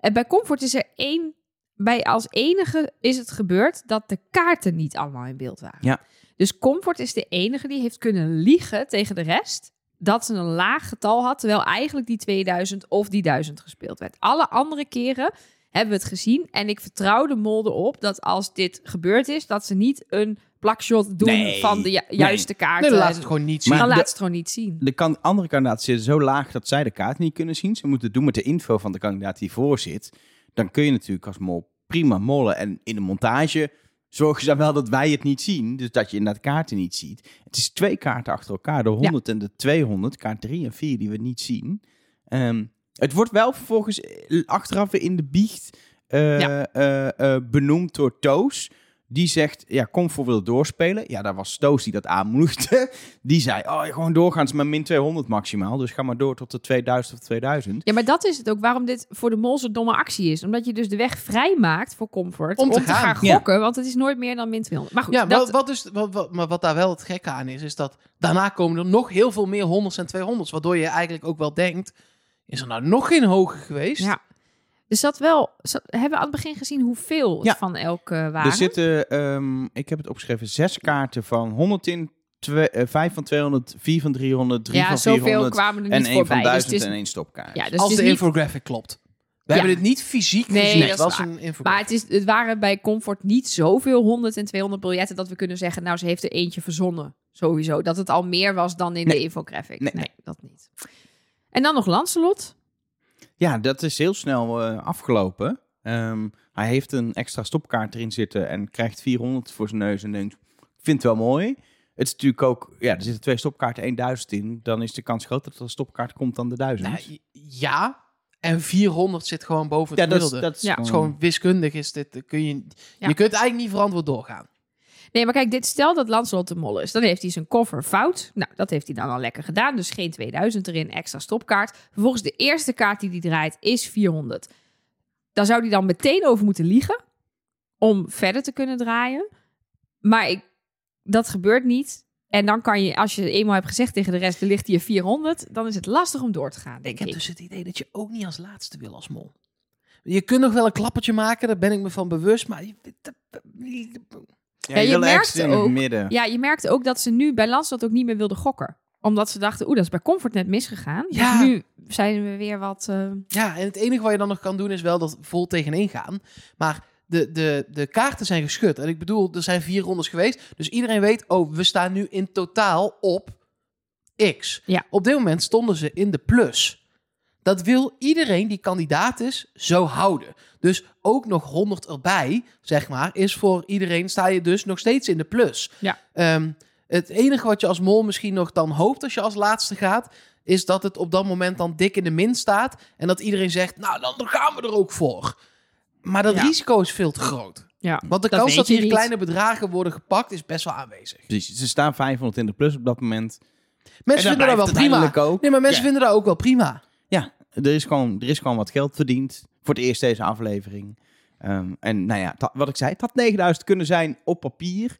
B: en bij Comfort is er één, bij als enige is het gebeurd dat de kaarten niet allemaal in beeld waren.
C: Ja.
B: Dus Comfort is de enige die heeft kunnen liegen tegen de rest dat ze een laag getal had, terwijl eigenlijk die 2000 of die 1000 gespeeld werd. Alle andere keren hebben we het gezien en ik vertrouw de mol erop dat als dit gebeurd is, dat ze niet een plakshot doen
C: Nee.
B: van de ju-
C: Nee.
B: juiste kaart.
A: Nee, dan laat
B: eh,
A: het gewoon niet zien.
C: Maar-
B: dan laat
C: de-
B: ze het gewoon niet zien.
C: De kan, andere kandidaten zitten zo laag dat zij de kaart niet kunnen zien. Ze moeten het doen met de info van de kandidaat die voor zit. Dan kun je natuurlijk als mol prima mollen. En in de montage zorg je dan wel dat wij het niet zien. Dus dat je inderdaad kaarten niet ziet. Het is twee kaarten achter elkaar. De 100 en de 200. Kaart 3 en 4 die we niet zien. Ehm, het wordt wel vervolgens eh, achteraf weer in de biecht eh,
B: Ja.
C: eh, eh, benoemd door Toos. Die zegt, ja, Comfort wil doorspelen. Ja, daar was Toos die dat aanmoedigde. Die zei, oh, gewoon doorgaan is maar min 200 maximaal. Dus ga maar door tot de 2000 of 2000.
B: Ja, maar dat is het ook waarom dit voor de mol zo'n domme actie is. Omdat je dus de weg vrij maakt voor comfort
A: Om te gaan.
C: Ja.
B: gokken, want het is nooit meer dan min 200. Maar goed,
A: Ja,
B: dat,
A: wat, wat dus, wat, wat- maar wat daar wel het gekke aan is, is dat daarna komen er nog heel veel meer honderd's en 200's. Waardoor je eigenlijk ook wel denkt, is er nou nog geen hoger geweest?
B: ja. Dus dat wel, zo- hebben we aan het begin gezien hoeveel het
C: Ja.
B: van elke waren.
C: Er zitten, ehm, ik heb het opgeschreven, zes kaarten van 100 in, twe- eh, vijf van 200, vier van 300, drie
B: ja,
C: van
B: zoveel
C: 400
B: kwamen er
C: en
B: niet
C: één van
B: voorbij. Dus
C: 1000
B: het is,
C: en één stopkaart.
B: ja, dus
A: Als
B: het
A: de
B: is niet,
A: infographic klopt. We
B: Ja.
A: hebben dit niet fysiek
B: Nee,
A: gezien.
B: dat
A: Het
B: is
A: was
B: waar.
A: een infographic.
B: maar het, is, het waren bij Comfort niet zoveel 100 en 200 biljetten dat we kunnen zeggen, nou, ze heeft er eentje verzonnen. Sowieso. Dat het al meer was dan in
C: Nee.
B: de infographic.
C: Nee,
B: Nee, dat niet. En dan nog Lancelot.
C: Ja, dat is heel snel eh, afgelopen. Ehm, hij heeft een extra stopkaart erin zitten en krijgt 400 voor zijn neus en denkt, ik vind het wel mooi. Het is natuurlijk ook, ja, er zitten twee stopkaarten 1000 in. Dan is de kans groot dat er een stopkaart komt dan de 1000.
A: Nou, j- ja, en 400 zit gewoon boven het
C: ja, dat is,
A: gemiddelde.
C: dat Mm.
B: Ja.
C: is
A: Het is gewoon wiskundig is dit. eh, Kun je,
B: Ja.
A: je kunt eigenlijk niet verantwoord doorgaan.
B: Nee, maar kijk, dit stel dat Lancelot de mol is. Dan heeft hij zijn koffer fout. Nou, dat heeft hij dan al lekker gedaan. Dus geen 2000 erin, extra stopkaart. Vervolgens de eerste kaart die hij draait is 400. Daar zou hij dan meteen over moeten liegen. Om verder te kunnen draaien. Maar ik, dat gebeurt niet. En dan kan je, als je eenmaal hebt gezegd tegen de rest, er ligt hier 400. Dan is het lastig om door te gaan, denk
A: Ik
B: ik.
A: heb dus het idee dat je ook niet als laatste wil als mol. Je kunt nog wel een klappertje maken, daar ben ik me van bewust. Maar je-
B: Ja, je
C: wil
B: merkt
C: ergens in het
B: ook-
C: midden.
B: Ja, je merkte ook dat ze nu bij Lancelot ook niet meer wilde gokken. Omdat ze dachten, oeh, dat is bij Comfort net misgegaan.
A: Ja.
B: Dus nu zijn we weer wat... eh,
A: Ja, en het enige wat je dan nog kan doen is wel dat vol tegenin gaan. Maar de, de, de kaarten zijn geschud. En ik bedoel, er zijn vier rondes geweest. Dus iedereen weet, oh, we staan nu in totaal op X.
B: Ja.
A: Op dit moment stonden ze in de plus. Dat wil iedereen die kandidaat is zo houden. Dus ook nog 100 erbij, zeg maar, is voor iedereen sta je dus nog steeds in de plus.
B: Ja.
A: Ehm, het enige wat je als mol misschien nog dan hoopt als je als laatste gaat, is dat het op dat moment dan dik in de min staat. En dat iedereen zegt, nou dan dan gaan we er ook voor. Maar dat
B: Ja.
A: risico is veel te groot.
B: Ja,
A: Want de
B: dat
A: kans
B: weet
A: dat
B: je
A: hier
B: niet.
A: kleine bedragen worden gepakt is best wel aanwezig.
C: Precies, ze staan 500 in de plus op dat moment.
A: Mensen
C: en
A: vinden dat wel
C: blijft
A: prima.
C: uiteindelijk Ook.
A: Nee, maar mensen
C: Ja.
A: vinden dat ook wel prima.
C: Ja, er is, gewoon, er is gewoon wat geld verdiend voor het eerst deze aflevering. Ehm, en nou ja, dat- wat ik zei, het had 9000 kunnen zijn op papier.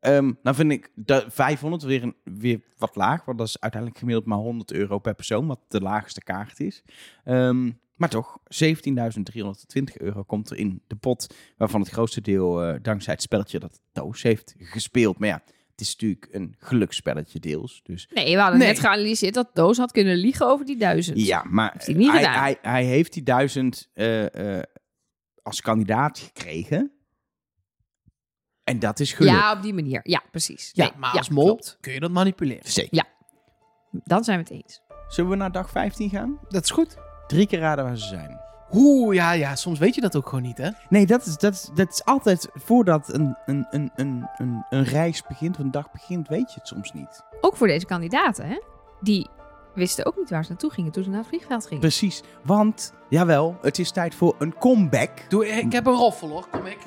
C: Ehm dan vind ik de 500 weer, een, weer wat laag, want dat is uiteindelijk gemiddeld maar 100 euro per persoon, wat de laagste kaart is. Ehm, maar toch, 17.320 euro komt er in de pot, waarvan het grootste deel eh, dankzij het spelletje dat Toos heeft gespeeld. Maar ja, het is natuurlijk een geluksspelletje deels, dus
B: Nee, we hadden
A: Nee.
B: net geanalyseerd dat Doos had kunnen liegen over die duizend.
C: ja, maar eh,
B: Heeft hij niet
C: hij,
B: gedaan.
C: hij, hij heeft die duizend eh, eh, als kandidaat gekregen. En dat is geluk.
B: Ja, op die manier. Ja, precies.
A: Ja,
B: Nee,
A: maar als mol
B: klopt.
A: kun je dat manipuleren.
C: Zeker.
B: Dan zijn we het eens.
C: Zullen we naar dag 15 gaan?
A: Dat is goed.
C: Drie keer raden waar ze zijn.
A: Oeh, ja, ja, soms weet je dat ook gewoon niet, hè?
C: Nee, dat is, dat is, dat is altijd voordat een, een, een, een, een, een reis begint of een dag begint, weet je het soms niet.
B: Ook voor deze kandidaten, hè? Die wisten ook niet waar ze naartoe gingen toen ze naar het vliegveld gingen.
C: Precies, want jawel, het is tijd voor een comeback.
A: Doe, ik heb een roffel, hoor. Kom ik.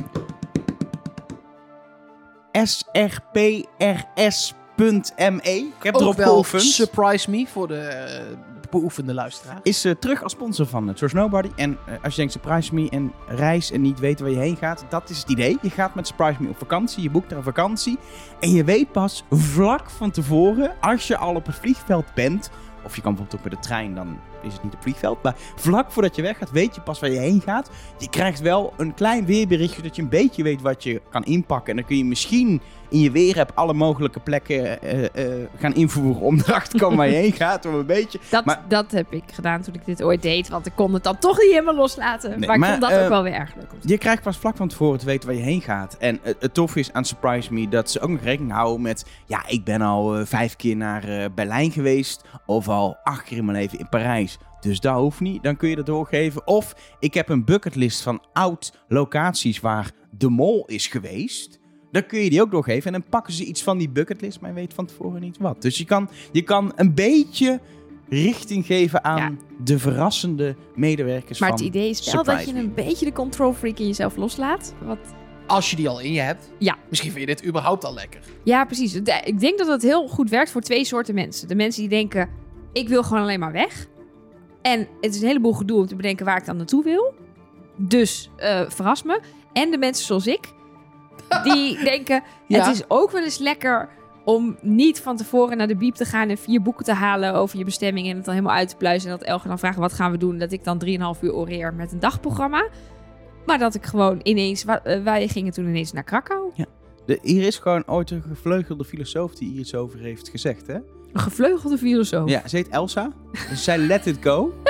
C: SRPRS Mol.me. E. Ik heb
A: Ook
C: erop
A: wel
C: geoefend.
A: Surprise Me voor de eh, beoefende luisteraar.
C: Is eh, terug als sponsor van het Source Nobody. En eh, als je denkt Surprise Me en reis en niet weten waar je heen gaat. Dat is het idee. Je gaat met Surprise Me op vakantie. Je boekt daar een vakantie. En je weet pas vlak van tevoren, als je al op het vliegveld bent... Of je kan bijvoorbeeld ook met de trein, dan is het niet het vliegveld. Maar vlak voordat je weggaat, weet je pas waar je heen gaat. Je krijgt wel een klein weerberichtje, dat je een beetje weet wat je kan inpakken. En dan kun je misschien in je weer hebt alle mogelijke plekken eh, eh, gaan invoeren om erachter te komen waar je heen gaat. Om een beetje
B: Dat,
C: Maar-
B: dat heb ik gedaan toen ik dit ooit deed. Want ik kon het dan toch niet helemaal loslaten.
C: Nee,
B: maar ik
C: maar,
B: vond dat
C: eh,
B: ook wel weer erg leuk. om te
C: Je krijgt pas vlak van tevoren te weten waar je heen gaat. En het, het toffe is aan Surprise Me dat ze ook nog rekening houden met... Ja, ik ben al eh, vijf keer naar eh, Berlijn geweest. Of al acht keer in mijn leven in Parijs. Dus dat hoeft niet. Dan kun je dat doorgeven. Of ik heb een bucketlist van oud locaties waar de mol is geweest. Dan kun je die ook doorgeven. En dan pakken ze iets van die bucketlist, maar je weet van tevoren niet wat. Dus je kan, je kan een beetje richting geven aan de verrassende medewerkers
B: Maar
C: van
B: het idee is wel dat
C: Surprise
B: je
C: Me.
B: een beetje de control freak in jezelf loslaat. Wat...
A: Als je die al in je hebt.
B: Ja.
A: Misschien vind je dit überhaupt al lekker.
B: Ja, precies. De- Ik denk dat het heel goed werkt voor twee soorten mensen. De mensen die denken, ik wil gewoon alleen maar weg. En het is een heleboel gedoe om te bedenken waar ik dan naartoe wil. Dus eh, verras me. En de mensen zoals ik, die denken,
A: Ja.
B: het is ook wel eens lekker om niet van tevoren naar de biep te gaan en vier boeken te halen over je bestemming en het dan helemaal uit te pluizen. En dat Elger dan vraagt, wat gaan we doen? Dat ik dan 3,5 uur oreer met een dagprogramma. Maar dat ik gewoon ineens, wa- eh, wij gingen toen ineens naar Krakau.
C: De, hier is gewoon ooit een gevleugelde filosoof die hier iets over heeft gezegd, hè?
B: Een gevleugelde filosoof.
C: Ja, ze heet Elsa. Dus zij let it go.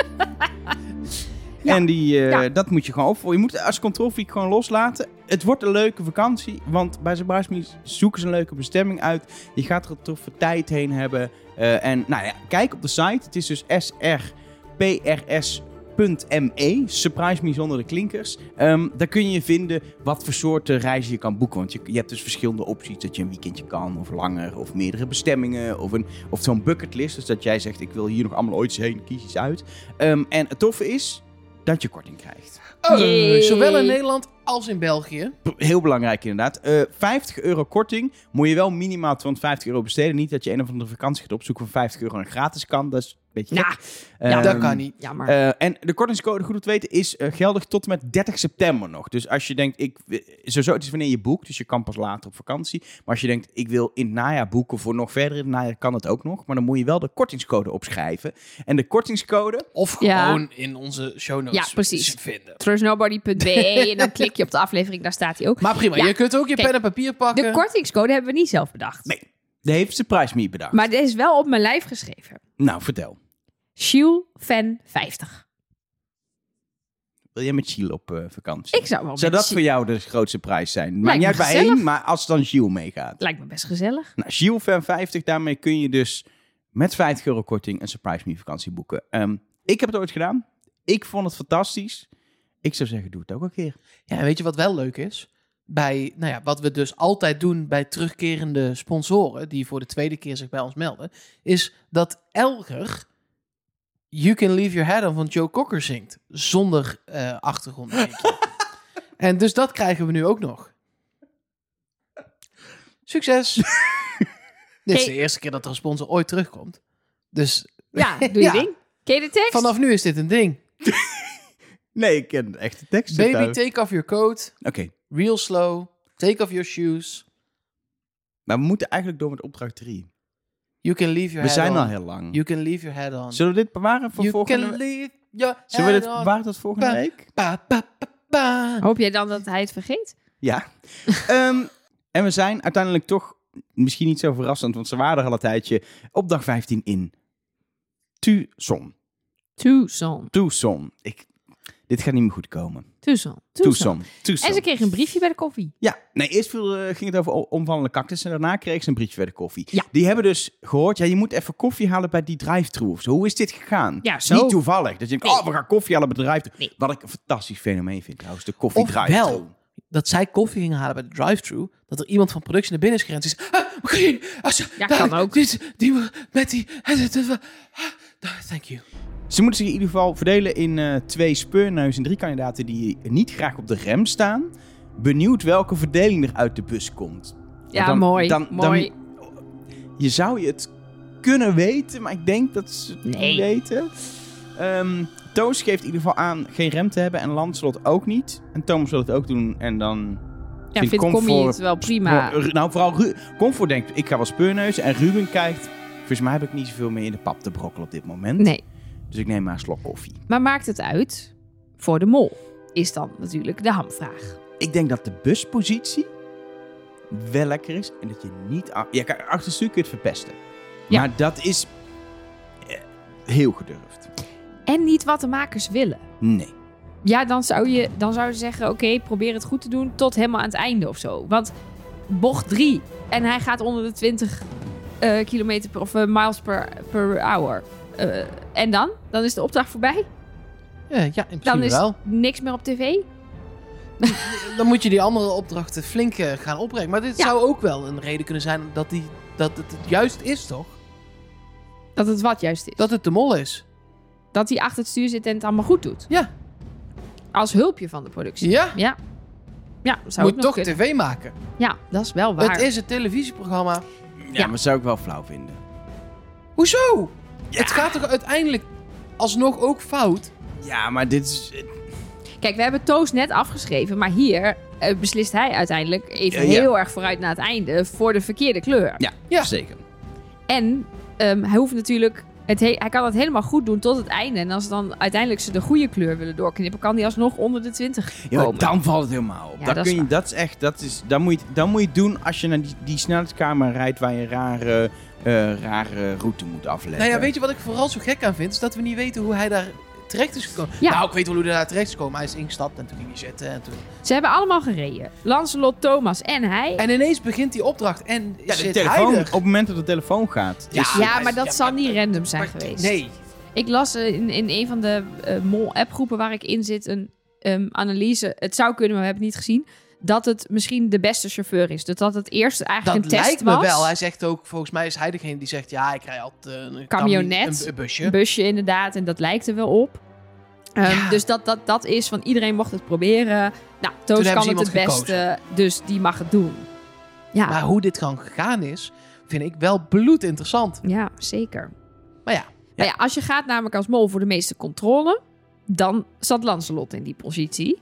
B: Ja.
C: En die, eh,
B: Ja.
C: dat moet je gewoon opvolgen. Je moet als controlfreak gewoon loslaten. Het wordt een leuke vakantie, want bij Surprise Me zoeken ze een leuke bestemming uit. Je gaat er een toffe tijd heen hebben. Eh, en nou ja, kijk op de site. Het is dus srprs.me. E, Surprise Me zonder de klinkers. Ehm, daar kun je vinden wat voor soorten reizen je kan boeken. Want je, je hebt dus verschillende opties. Dat je een weekendje kan, of langer, of meerdere bestemmingen. Of, een, of zo'n bucketlist. Dus dat jij zegt, ik wil hier nog allemaal ooit eens heen, kies iets uit. Ehm, en het toffe is dat je korting krijgt.
A: Eh,
B: Yay.
A: zowel in Nederland als in België.
C: P- Heel belangrijk inderdaad. Eh 50 euro korting moet je wel minimaal 250 euro besteden. Niet dat je een of andere vakantie gaat opzoeken voor 50 euro en gratis kan. Dat is een beetje
B: Nou,
C: gek.
B: ja,
C: Ehm,
A: dat kan niet.
B: Jammer.
C: Eh, en de kortingscode, goed om te weten, is eh, geldig tot en met 30 september nog. Dus als je denkt, ik, wi- sowieso, het is wanneer je boekt, dus je kan pas later op vakantie. Maar als je denkt, ik wil in het najaar boeken voor nog verder in het najaar, kan het ook nog. Maar dan moet je wel de kortingscode opschrijven. En de kortingscode,
A: Of
B: Ja.
A: gewoon in onze show notes
B: Ja, precies.
A: vinden.
B: trustnobody.be E en dan klik je op de aflevering, daar staat hij ook.
A: Maar prima,
B: Ja,
A: je kunt ook je
B: kijk,
A: pen en papier pakken.
B: De kortingscode hebben we niet zelf bedacht.
C: Nee. die heeft Surprise Me bedacht.
B: Maar deze is wel op mijn lijf geschreven.
C: Nou, vertel.
B: Shield fan 50.
C: Wil jij met Chiel op eh, vakantie?
B: Ik zou wel
C: Zou
B: met
C: dat
B: Giel-
C: voor jou de grootste prijs zijn? Maakt
B: Lijkt
C: niet
B: me
C: uit waarheen,
B: gezellig.
C: maar als dan Giel meegaat.
B: Lijkt me best gezellig.
C: Nou, Giel Fan 50, daarmee kun je dus met 50 euro korting een Surprise Me vakantie boeken. Ehm, ik heb het ooit gedaan. Ik vond het fantastisch. Ik zou zeggen, doe het ook een keer.
A: Ja, en weet je wat wel leuk is? Bij, nou ja, wat we dus altijd doen bij terugkerende sponsoren, die voor de tweede keer zich bij ons melden, is dat Elger You Can Leave Your Head On van Joe Cocker zingt, zonder eh achtergrond. en dus dat krijgen we nu ook nog. Succes! Dit is de
B: Hey.
A: eerste keer dat er een sponsor ooit terugkomt. Dus
B: Ja, doe je
A: Ja.
B: ding. Ken je de tekst?
A: vanaf nu is dit een ding.
C: Nee, ik ken echt de tekst. niet
A: Baby,
C: uit.
A: take off your coat.
C: Oké,
A: Real slow. Take off your shoes.
C: maar we moeten eigenlijk door met opdracht 3.
A: You can leave your head
C: We zijn
A: on.
C: al heel lang.
A: You can leave your head on.
C: Zullen we dit bewaren voor
A: you
C: volgende
A: can
C: week?
A: leave your head
C: Zullen we dit
A: on.
C: bewaren tot volgende
A: Pa-
C: week?
A: Pa, pa, pa, pa.
B: Hoop jij dan dat hij het vergeet?
C: Ja. Ehm, en we zijn uiteindelijk toch, misschien niet zo verrassend, want ze waren er al een tijdje, op dag 15 in Tucson.
B: Tucson.
C: Tucson. Ik, dit gaat niet meer goed komen.
B: Tucson. Tucson.
C: Tucson. Tucson.
B: En ze kreeg een briefje bij de koffie.
C: Ja, nee, eerst viel, eh, ging het over o- omvallende cactus en daarna kreeg ze een briefje bij de koffie.
B: Ja.
C: Die hebben dus gehoord, ja, je moet even koffie halen bij die drive-thru of zo. Hoe is dit gegaan?
B: Ja, zo.
C: Niet toevallig. Dat je denkt,
B: Nee.
C: oh, we gaan koffie halen bij de drive-thru.
B: Nee.
C: Wat ik een fantastisch fenomeen vind trouwens, de koffie
A: Ofwel.
C: drive-thru.
A: Dat zij koffie gingen halen bij de drive-thru. Dat er iemand van productie naar binnen is gerend. Ze is, ah, wat ga je doen? Ah, ze-
B: Ja,
A: daar,
B: kan ook.
A: Dit, die, met die... ah, Thank you.
C: Ze moeten zich in ieder geval verdelen in eh, twee speurneuzen en drie kandidaten die niet graag op de rem staan. Benieuwd welke verdeling er uit de bus komt.
B: Ja,
C: Dan-
B: mooi.
C: dan- dan-
B: mooi.
C: Je zou je het kunnen weten, maar ik denk dat ze het
B: Nee.
C: niet weten. Ehm, Toos geeft in ieder geval aan geen rem te hebben en Lancelot ook niet. En Thomas wil het ook doen en dan...
B: Ja,
C: Vind
B: vindt
C: comfort-
B: Commie het wel prima.
C: Ru- Nou, vooral Ru Comfort denkt, ik ga wel speurneus. En Ruben kijkt, volgens mij heb ik niet zoveel meer in de pap te brokkelen op dit moment.
B: Nee,
C: Dus ik neem maar een slok koffie.
B: maar maakt het uit? Voor de mol is dan natuurlijk de hamvraag.
C: Ik denk dat de buspositie wel lekker is. En dat je niet... a- Ja, kijk, achter stuur kun je het verpesten.
B: Ja.
C: Maar dat is eh, heel gedurfd.
B: En niet wat de makers willen.
C: Nee.
B: Ja, dan zou je, dan zou je zeggen: oké, probeer het goed te doen tot helemaal aan het einde of zo. Want bocht 3 en hij gaat onder de 20 eh kilometer per, of eh, miles per, per hour. Eh, en dan? Dan is de opdracht voorbij.
A: Ja, ja in principe
B: Dan is
A: wel.
B: niks meer op tv.
A: Dan moet je die andere opdrachten flink eh, gaan opbrengen. Maar dit
B: Ja.
A: zou ook wel een reden kunnen zijn dat, die, dat het het juist is, toch?
B: Dat het wat juist is. Dat,
A: Dat het de mol is.
B: dat hij achter het stuur zit en het allemaal goed doet.
A: Ja.
B: Als hulpje van de productie.
A: Ja,
B: Ja, ja zou ook
A: moet
B: nog
A: toch
B: kunnen.
A: tv maken.
B: Ja, dat is wel waar.
A: Het is een televisieprogramma.
C: Ja,
B: Ja.
C: maar zou ik wel flauw vinden.
A: Hoezo? Het gaat toch uiteindelijk alsnog ook fout?
C: Ja, maar dit is...
B: Kijk, we hebben Toos net afgeschreven, maar hier eh, beslist hij uiteindelijk even
C: Ja, ja.
B: heel erg vooruit naar het einde voor de verkeerde kleur.
C: Ja,
A: Ja.
C: zeker.
B: En ehm, hij hoeft natuurlijk. Het he- hij kan het helemaal goed doen tot het einde. En als dan uiteindelijk ze de goede kleur willen doorknippen, kan hij alsnog onder de 20
C: Ja, maar
B: komen.
C: dan valt het helemaal op.
B: Ja,
C: dan
B: dat
C: kun
B: is
C: je, dat is echt, dat is, dan moet je, dan moet je het doen als je naar die, die snelheidskamer rijdt waar je een rare, eh, rare route moet afleggen.
A: Nou ja, weet je wat ik vooral zo gek aan vind? Is dat we niet weten hoe hij daar terecht is gekomen.
B: Ja.
A: Nou, ik weet wel hoe hij daar terecht is gekomen. Hij is ingestapt en toen ging hij zitten. En, toen...
B: Ze hebben allemaal gereden. Lancelot, Thomas en hij.
A: en ineens begint die opdracht en
C: Ja, de
A: zit
C: telefoon,
A: hij
C: op
A: er.
C: het moment dat de telefoon gaat.
A: Ja,
C: is-
B: ja, maar dat
A: ja,
B: zal
A: maar-
B: niet random zijn geweest.
A: Dus- Nee.
B: Ik las eh, in, in een van de eh, mol-appgroepen waar ik in zit een ehm, analyse. Het zou kunnen, maar we hebben het niet gezien. Dat het misschien de beste chauffeur is. Dus dat het eerst eigenlijk
A: Dat
B: een test
A: lijkt me
B: was.
A: wel. Hij zegt ook, volgens mij is hij degene die zegt... Ja, ik rij altijd eh, een
B: Camionet.
A: cami- Een, een busje.
B: Een busje inderdaad, en dat lijkt er wel op. Ehm,
A: Ja.
B: Dus dat, dat, dat is van iedereen mocht het proberen. Nou,
A: hebben
B: Toos
A: ze
B: kan het
A: iemand
B: het beste, dus die mag het doen. Ja,
A: Maar hoe dit gewoon gegaan is, vind ik wel bloedinteressant.
B: ja zeker.
A: Maar ja,
B: Nou ja, als je gaat namelijk als mol voor de meeste controle, dan zat Lancelot in die positie.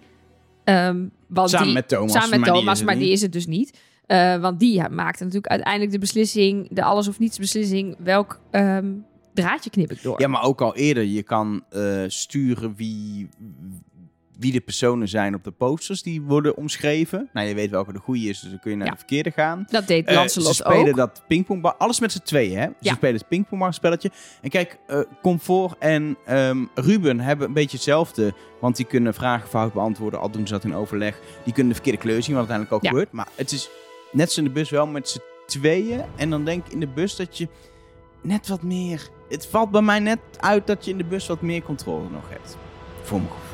B: Ehm, want
C: Samen
B: die-
C: met Thomas.
B: Samen met
C: maar
B: Thomas,
C: die is er
B: maar
C: niet.
B: die is het dus niet. Eh, want die ja, maakte natuurlijk uiteindelijk de beslissing, de alles of niets beslissing, welk ehm, draadje knip ik door.
C: Ja, maar ook al eerder. Je kan eh, sturen wie, wie de personen zijn op de posters die worden omschreven. Nou, je weet welke de goede is, dus dan kun je naar
B: Ja.
C: de verkeerde gaan.
B: dat deed
C: Eh,
B: Lancelot
C: ze spelen
B: ook.
C: dat pingpongbal. Alles met z'n tweeën, hè?
B: Ja.
C: Ze spelen het pingpongbalspelletje. En kijk, eh, Comfort en ehm, Ruben hebben een beetje hetzelfde. Want die kunnen vragen fout beantwoorden, al doen ze dat in overleg. Die kunnen de verkeerde kleur zien, wat uiteindelijk ook
B: Ja.
C: gebeurt. Maar het is net zo in de bus wel met z'n tweeën. En dan denk ik in de bus dat je net wat meer... Het valt bij mij net uit dat je in de bus wat meer controle nog hebt. Voor mijn gevoel.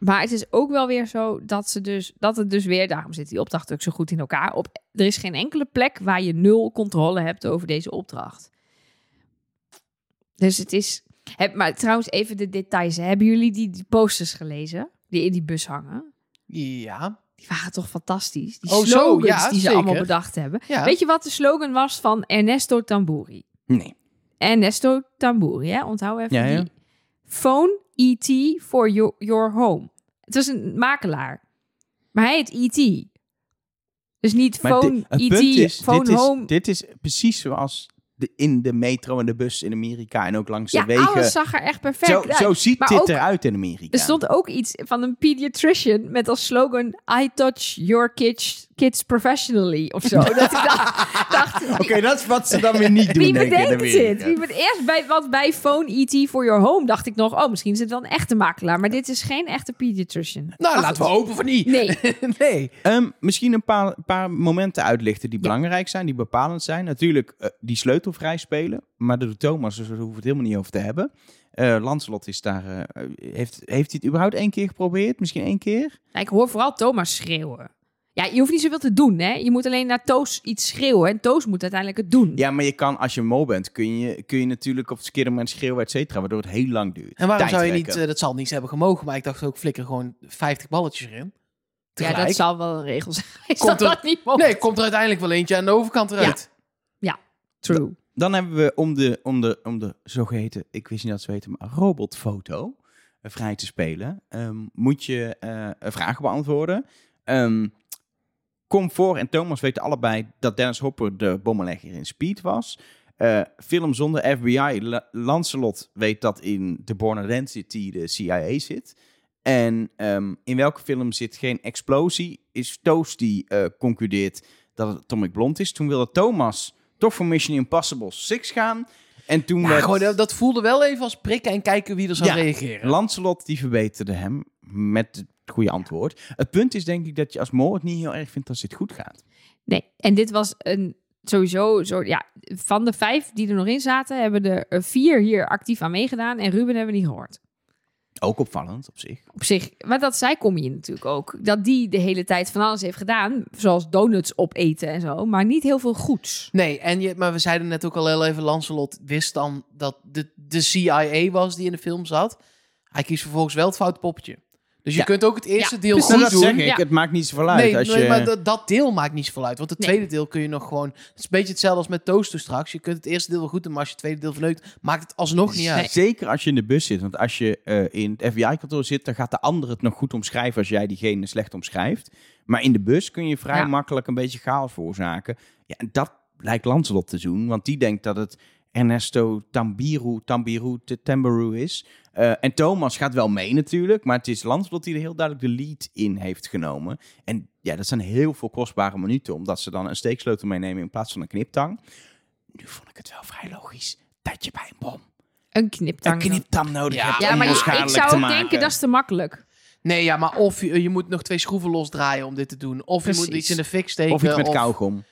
B: Maar het is ook wel weer zo dat ze dus dat het dus weer daarom zit die opdracht ook zo goed in elkaar. Op er is geen enkele plek waar je nul controle hebt over deze opdracht. Dus het is. Heb, maar trouwens even de details. hè. Hebben jullie die, die posters gelezen die in die bus hangen?
A: ja,
B: Die waren toch fantastisch. Die
A: Oh, zo,
B: slogans
A: ja,
B: die ze
A: zeker.
B: allemaal bedacht hebben.
A: ja.
B: Weet je wat de slogan was van Ernesto Tamburi?
C: Nee.
B: Ernesto Tamburi, hè? onthoud even
C: Ja, ja.
B: die. Phone ET for your, your home. Het was een makelaar. Maar hij heet ET. Dus niet
C: Maar
B: phone
C: di-
B: ET, phone
C: dit,
B: home.
C: Is, dit is precies zoals de, in de metro en de bus in Amerika en ook langs
B: ja,
C: de wegen.
B: alles zag er echt perfect
C: zo,
B: uit.
C: zo ziet
B: Maar
C: dit
B: ook-
C: eruit in Amerika.
B: Er stond ook iets van een pediatrician met als slogan... I touch your kids, kids professionally of zo. Dat ik dacht, dacht
C: Oké, dat is wat ze dan weer niet doen,
B: Wie
C: denk ik, in
B: bedenkt dit?
C: Amerika.
B: Wie bedenkt- eerst bij, want bij Phone ET for Your Home dacht ik nog... oh, misschien is het wel een echte makelaar. Maar dit is geen echte pediatrician.
A: Nou, laten we hopen van niet.
B: Nee, Nou,
A: nee.
C: Ehm, misschien een paar, paar momenten uitlichten die
B: Ja.
C: belangrijk zijn, die bepalend zijn. Natuurlijk eh, die sleutelvrij spelen, maar dat doet Thomas, dus daar hoeven we het helemaal niet over te hebben. Eh Lancelot is daar, eh, heeft, heeft hij het überhaupt één keer geprobeerd? Misschien één keer?
B: Ja, ik hoor vooral Thomas schreeuwen. Ja, je hoeft niet zoveel te doen, hè? Je moet alleen naar Toos iets schreeuwen. En Toos moet uiteindelijk het doen.
C: Ja, maar je kan, als je mol bent, kun je, kun je natuurlijk op het verkeerde moment schreeuwen, et cetera, waardoor het heel lang duurt.
A: En waarom
C: Tijd
A: zou je
C: rekken.
A: niet, eh, dat zal niet hebben gemogen, maar ik dacht ook, flikker gewoon 50 balletjes erin.
B: Ja,
A: Tegelijk.
B: dat zal wel een regel zijn. Is
A: Komt
B: dat,
A: er-
B: dat niet mogelijk?
A: Nee, komt er uiteindelijk wel eentje aan de overkant eruit.
B: True.
C: Dan hebben we om de, om de, om de zogeheten, ik wist niet dat ze weten, maar robotfoto eh, vrij te spelen, ehm, moet je eh, vragen beantwoorden. Ehm Comfort en Thomas weten allebei dat Dennis Hopper de bommenlegger in Speed was. Eh, film zonder FBI, La- Lancelot weet dat in The Born Identity de CIA zit. En ehm, in welke film zit geen explosie? Is Toast die eh, concludeert dat het Atomic Blond is. Toen wilde Thomas toch voor Mission Impossible 6 gaan. En toen
A: Ja,
C: werd...
A: gewoon, dat, dat voelde wel even als prikken en kijken wie er zou
C: Ja.
A: reageren.
C: Lancelot die verbeterde hem met het goede antwoord. Het punt is denk ik dat je als mol het niet heel erg vindt als dit goed gaat.
B: Nee, en dit was een sowieso zo ja van de vijf die er nog in zaten hebben er eh, vier hier actief aan meegedaan en Ruben hebben we niet gehoord.
C: Ook opvallend op zich.
B: Op zich, maar dat zei kom je natuurlijk ook dat die de hele tijd van alles heeft gedaan, zoals donuts opeten en zo, maar niet heel veel goeds.
A: Nee, en je, maar we zeiden net ook al heel even, Lancelot wist dan dat de, de CIA was die in de film zat. Hij kiest vervolgens wel het foute poppetje. Dus je
C: Ja.
A: kunt ook het eerste
B: Ja,
A: deel
B: precies. Nou,
A: goed
C: dat
A: doen.
C: zeg ik.
B: Ja.
C: Het maakt niet zoveel uit.
A: nee,
C: als je...
A: nee, maar dat, dat deel maakt niet zoveel uit. Want het
B: Nee.
A: tweede deel kun je nog gewoon... Het is een beetje hetzelfde als met Toaster straks. Je kunt het eerste deel wel goed doen, maar als je het tweede deel verneukt... maakt het alsnog niet uit.
C: Zeker als je in de bus zit. Want als je eh, in het FBI-kantoor zit, dan gaat de ander het nog goed omschrijven als jij diegene slecht omschrijft. Maar in de bus kun je vrij
B: Ja.
C: makkelijk een beetje chaos veroorzaken. Ja, en dat lijkt Lancelot te doen, want die denkt dat het Ernesto Tambiru, Tambiru, te Tambiru is. Eh, en Thomas gaat wel mee natuurlijk, maar het is Lancelot die er heel duidelijk de lead in heeft genomen. En ja, dat zijn heel veel kostbare minuten, omdat ze dan een steeksleutel meenemen in plaats van een kniptang. Nu vond ik het wel vrij logisch dat je bij een bom
B: Een kniptang.
C: een kniptam nodig
A: Ja,
C: hebt
B: Ja,
C: om
B: maar
C: je
B: ik- ik
C: schadelijk
B: zou
C: te
B: ook
C: maken.
B: denken dat is te makkelijk.
A: Nee, ja, maar of je, je moet nog twee schroeven losdraaien om dit te doen. Of je moet
B: Precies.
A: iets in de fik steken.
C: of iets met kauwgom.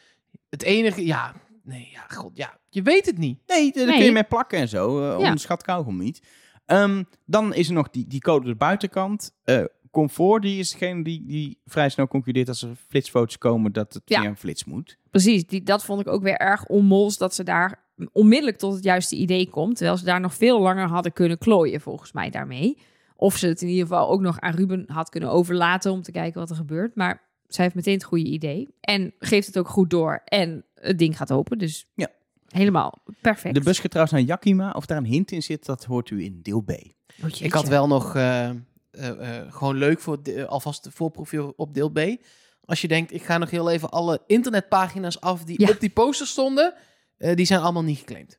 A: Het enige... Ja, nee, ja, god, ja. Je weet het niet.
C: Nee, daar kun
B: Nee.
C: je mee plakken en zo. eh,
B: Ja.
C: Onderschat kauwgom niet. Ehm, dan is er nog die, die code op de buitenkant. Eh, comfort, die is degene die, die vrij snel concludeert als er flitsfoto's komen dat het
B: Ja.
C: via een flits moet.
B: Precies, die, dat vond ik ook weer erg onmols dat ze daar onmiddellijk tot het juiste idee komt. Terwijl ze daar nog veel langer hadden kunnen klooien, volgens mij daarmee. Of ze het in ieder geval ook nog aan Ruben had kunnen overlaten om te kijken wat er gebeurt. Maar zij heeft meteen het goede idee en geeft het ook goed door. En het ding gaat open, dus
C: Ja.
B: helemaal perfect.
C: De bus gaat trouwens naar Yakima. Of daar een hint in zit, dat hoort u in deel B.
B: Oh, jeetje.
A: Ik had wel nog eh, eh, eh, gewoon leuk voor de- alvast de voorproefje op deel B. Als je denkt, ik ga nog heel even alle internetpagina's af die
B: Ja.
A: op die poster stonden. eh, die zijn allemaal niet geclaimd.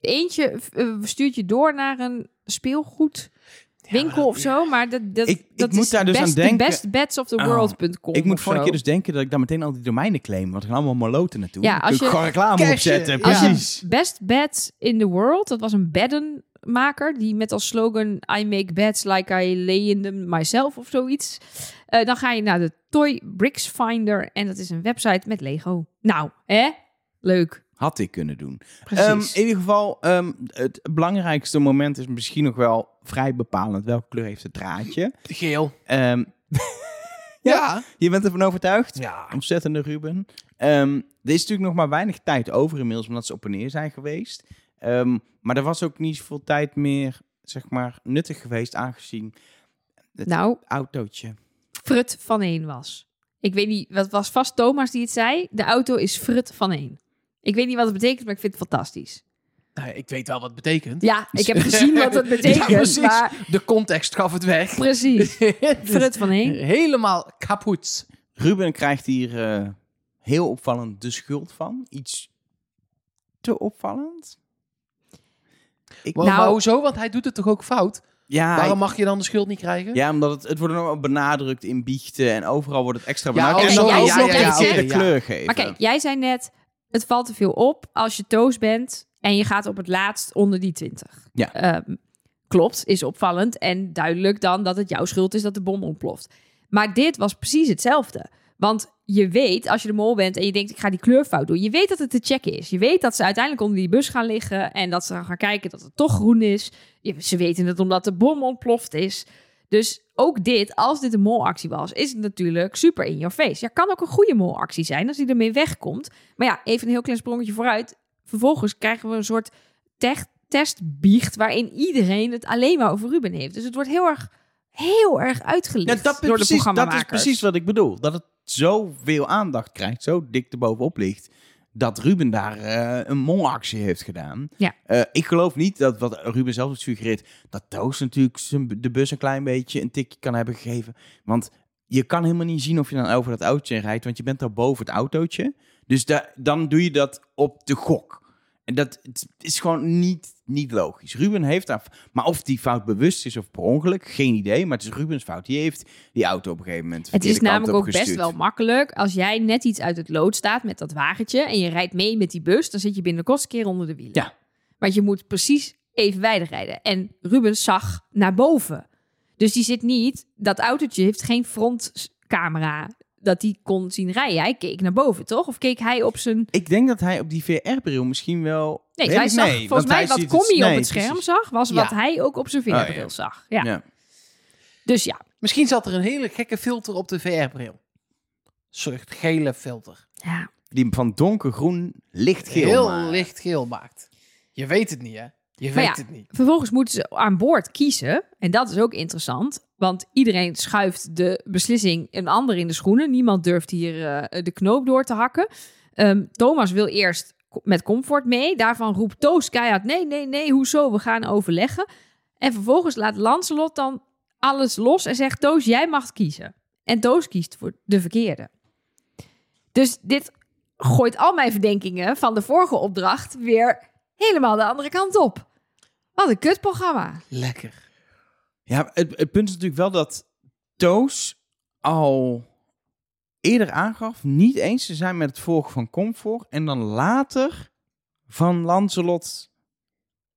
B: Eentje eh, stuurt je door naar een speelgoed...
A: maar
B: winkel
A: dat-
B: of zo, maar dat, dat,
C: Ik- ik
B: dat
C: moet
B: is
C: daar dus aan
B: best,
C: denken.
B: bestbadsoftheworld.com
C: ik moet
B: of
C: vorige
B: zo.
C: keer dus denken dat ik daar meteen al die domeinen claim. Want er gaan allemaal maloten naartoe.
B: Ja,
C: Dan kun
B: als
C: ik
B: je- eh,
C: gewoon reclame
A: Cashen.
C: opzetten.
A: Als je-
C: Precies.
B: Best Bed in the World. Dat was een beddenmaker die met als slogan I make beds like I lay in them myself of zoiets. Eh, dan ga je naar de Toy Bricks Finder en dat is een website met Lego. Nou, hè? Leuk.
C: Had ik kunnen doen.
B: Precies.
C: Ehm, in ieder geval, ehm, het belangrijkste moment is misschien nog wel vrij bepalend. Welke kleur heeft het draadje?
A: Geel.
C: Ehm,
A: Ja.
C: je bent ervan overtuigd?
A: Ja.
C: Ontzettende Ruben. Ehm, er is natuurlijk nog maar weinig tijd over inmiddels, omdat ze op en neer zijn geweest. Ehm, maar er was ook niet zoveel tijd meer, zeg maar, nuttig geweest, aangezien het
B: nou,
C: autootje.
B: Frut van één was. Ik weet niet, wat was vast Thomas die het zei? De auto is Frut van één. Ik weet niet wat het betekent, maar ik vind het fantastisch.
A: Nou, ik weet wel wat het betekent.
B: Ja, ik heb gezien wat het
A: Ja,
B: betekent,
A: precies. Dus
B: maar
A: De context gaf het weg.
B: precies. Frut van één.
A: Helemaal kapot.
C: Ruben krijgt hier eh, heel opvallend de schuld van. Iets te opvallend. Ik,
A: Maar,
B: Nou- Ah,
A: maar hoezo? Want hij doet het toch ook fout?
C: ja, ik-
A: Waarom mag je dan de schuld niet krijgen?
C: Ja, omdat het, het wordt nog benadrukt in biechten en overal wordt het extra
A: Ja,
C: benadrukt.
B: oké,
C: en dan
B: ja,
C: ook
B: ja,
C: nog
B: ja, ja,
C: een keer
B: oké,
C: de
A: ja.
C: kleur geven.
B: Maar kijk, jij zei net, het valt te veel op als je toos bent en je gaat op het laatst onder die 20.
C: Ja.
B: Ehm, klopt, is opvallend en duidelijk dan dat het jouw schuld is dat de bom ontploft. Maar dit was precies hetzelfde. Want je weet, als je de mol bent en je denkt, ik ga die kleurfout doen, je weet dat het te checken is. Je weet dat ze uiteindelijk onder die bus gaan liggen en dat ze dan gaan kijken dat het toch groen is. Je- Ze weten het omdat de bom ontploft is. Dus ook dit, als dit een molactie was, is het natuurlijk super in your face. Ja, kan ook een goede molactie zijn als hij ermee wegkomt. Maar ja, even een heel klein sprongetje vooruit. Vervolgens krijgen we een soort tech- testbiecht waarin iedereen het alleen maar over Ruben heeft. Dus het wordt heel erg, heel erg
C: Ja,
B: uitgelicht
C: dat,
B: door
C: is
B: de
C: precies, dat
B: programmamakers.
C: is precies wat ik bedoel. Dat het zoveel aandacht krijgt, zo dik erbovenop ligt, dat Ruben daar eh, een molactie heeft gedaan.
B: Ja.
C: Eh, ik geloof niet dat wat Ruben zelf heeft suggereert, dat Toos natuurlijk zijn, de bus een klein beetje een tikje kan hebben gegeven. Want je kan helemaal niet zien of je dan over dat autootje rijdt, want je bent daar boven het autootje. Dus da- dan doe je dat op de gok. En dat het is gewoon niet, niet logisch. Ruben heeft daar... Maar of die fout bewust is of per ongeluk, geen idee. Maar het is Rubens fout. Die heeft die auto op een gegeven moment
B: Het is
C: verkeerde kant
B: namelijk ook
C: op
B: best
C: gestuurd.
B: wel makkelijk. Als jij net iets uit het lood staat met dat wagentje en je rijdt mee met die bus, dan zit je binnen de kortste keer onder de wielen.
C: Ja.
B: Want je moet precies evenwijdig rijden. En Ruben zag naar boven. Dus die zit niet, dat autootje heeft geen frontcamera dat die kon zien rijden. Hij keek naar boven, toch? Of keek hij op zijn...
C: Ik denk dat hij op die VR-bril misschien wel...
B: Nee,
C: Weet
B: hij
C: ik-
B: zag,
C: want
B: volgens mij,
C: hij
B: wat
C: ziet
B: Commie op
C: nee,
B: het scherm
C: precies. Oh,
B: zag, was wat
A: Ja.
B: hij ook op zijn
C: ja.
B: vingerbril zag. Ja.
C: Ja.
B: Dus ja,
A: Misschien zat er een hele gekke filter op de VR-bril. Zucht, gele filter.
B: ja.
C: Die van donkergroen lichtgeel.
A: Heel
C: maar-
A: licht geel maakt. Je weet het niet, hè? Je
B: Maar
A: weet
B: ja,
A: het niet.
B: Vervolgens moeten ze aan boord kiezen. En dat is ook interessant. Want iedereen schuift de beslissing een ander in de schoenen. Niemand durft hier eh, de knoop door te hakken. Ehm, Thomas wil eerst ko- met comfort mee. Daarvan roept Toos keihard... nee, nee, nee, hoezo? We gaan overleggen. En vervolgens laat Lancelot dan alles los en zegt... Toos, jij mag kiezen. En Toos kiest voor de verkeerde. Dus dit gooit al mijn verdenkingen van de vorige opdracht... weer helemaal de andere kant op. Wat een kutprogramma.
A: Lekker.
C: Ja, het, het punt is natuurlijk wel dat Toos al eerder aangaf niet eens te zijn met het volgen van Comfort. En dan later van Lancelot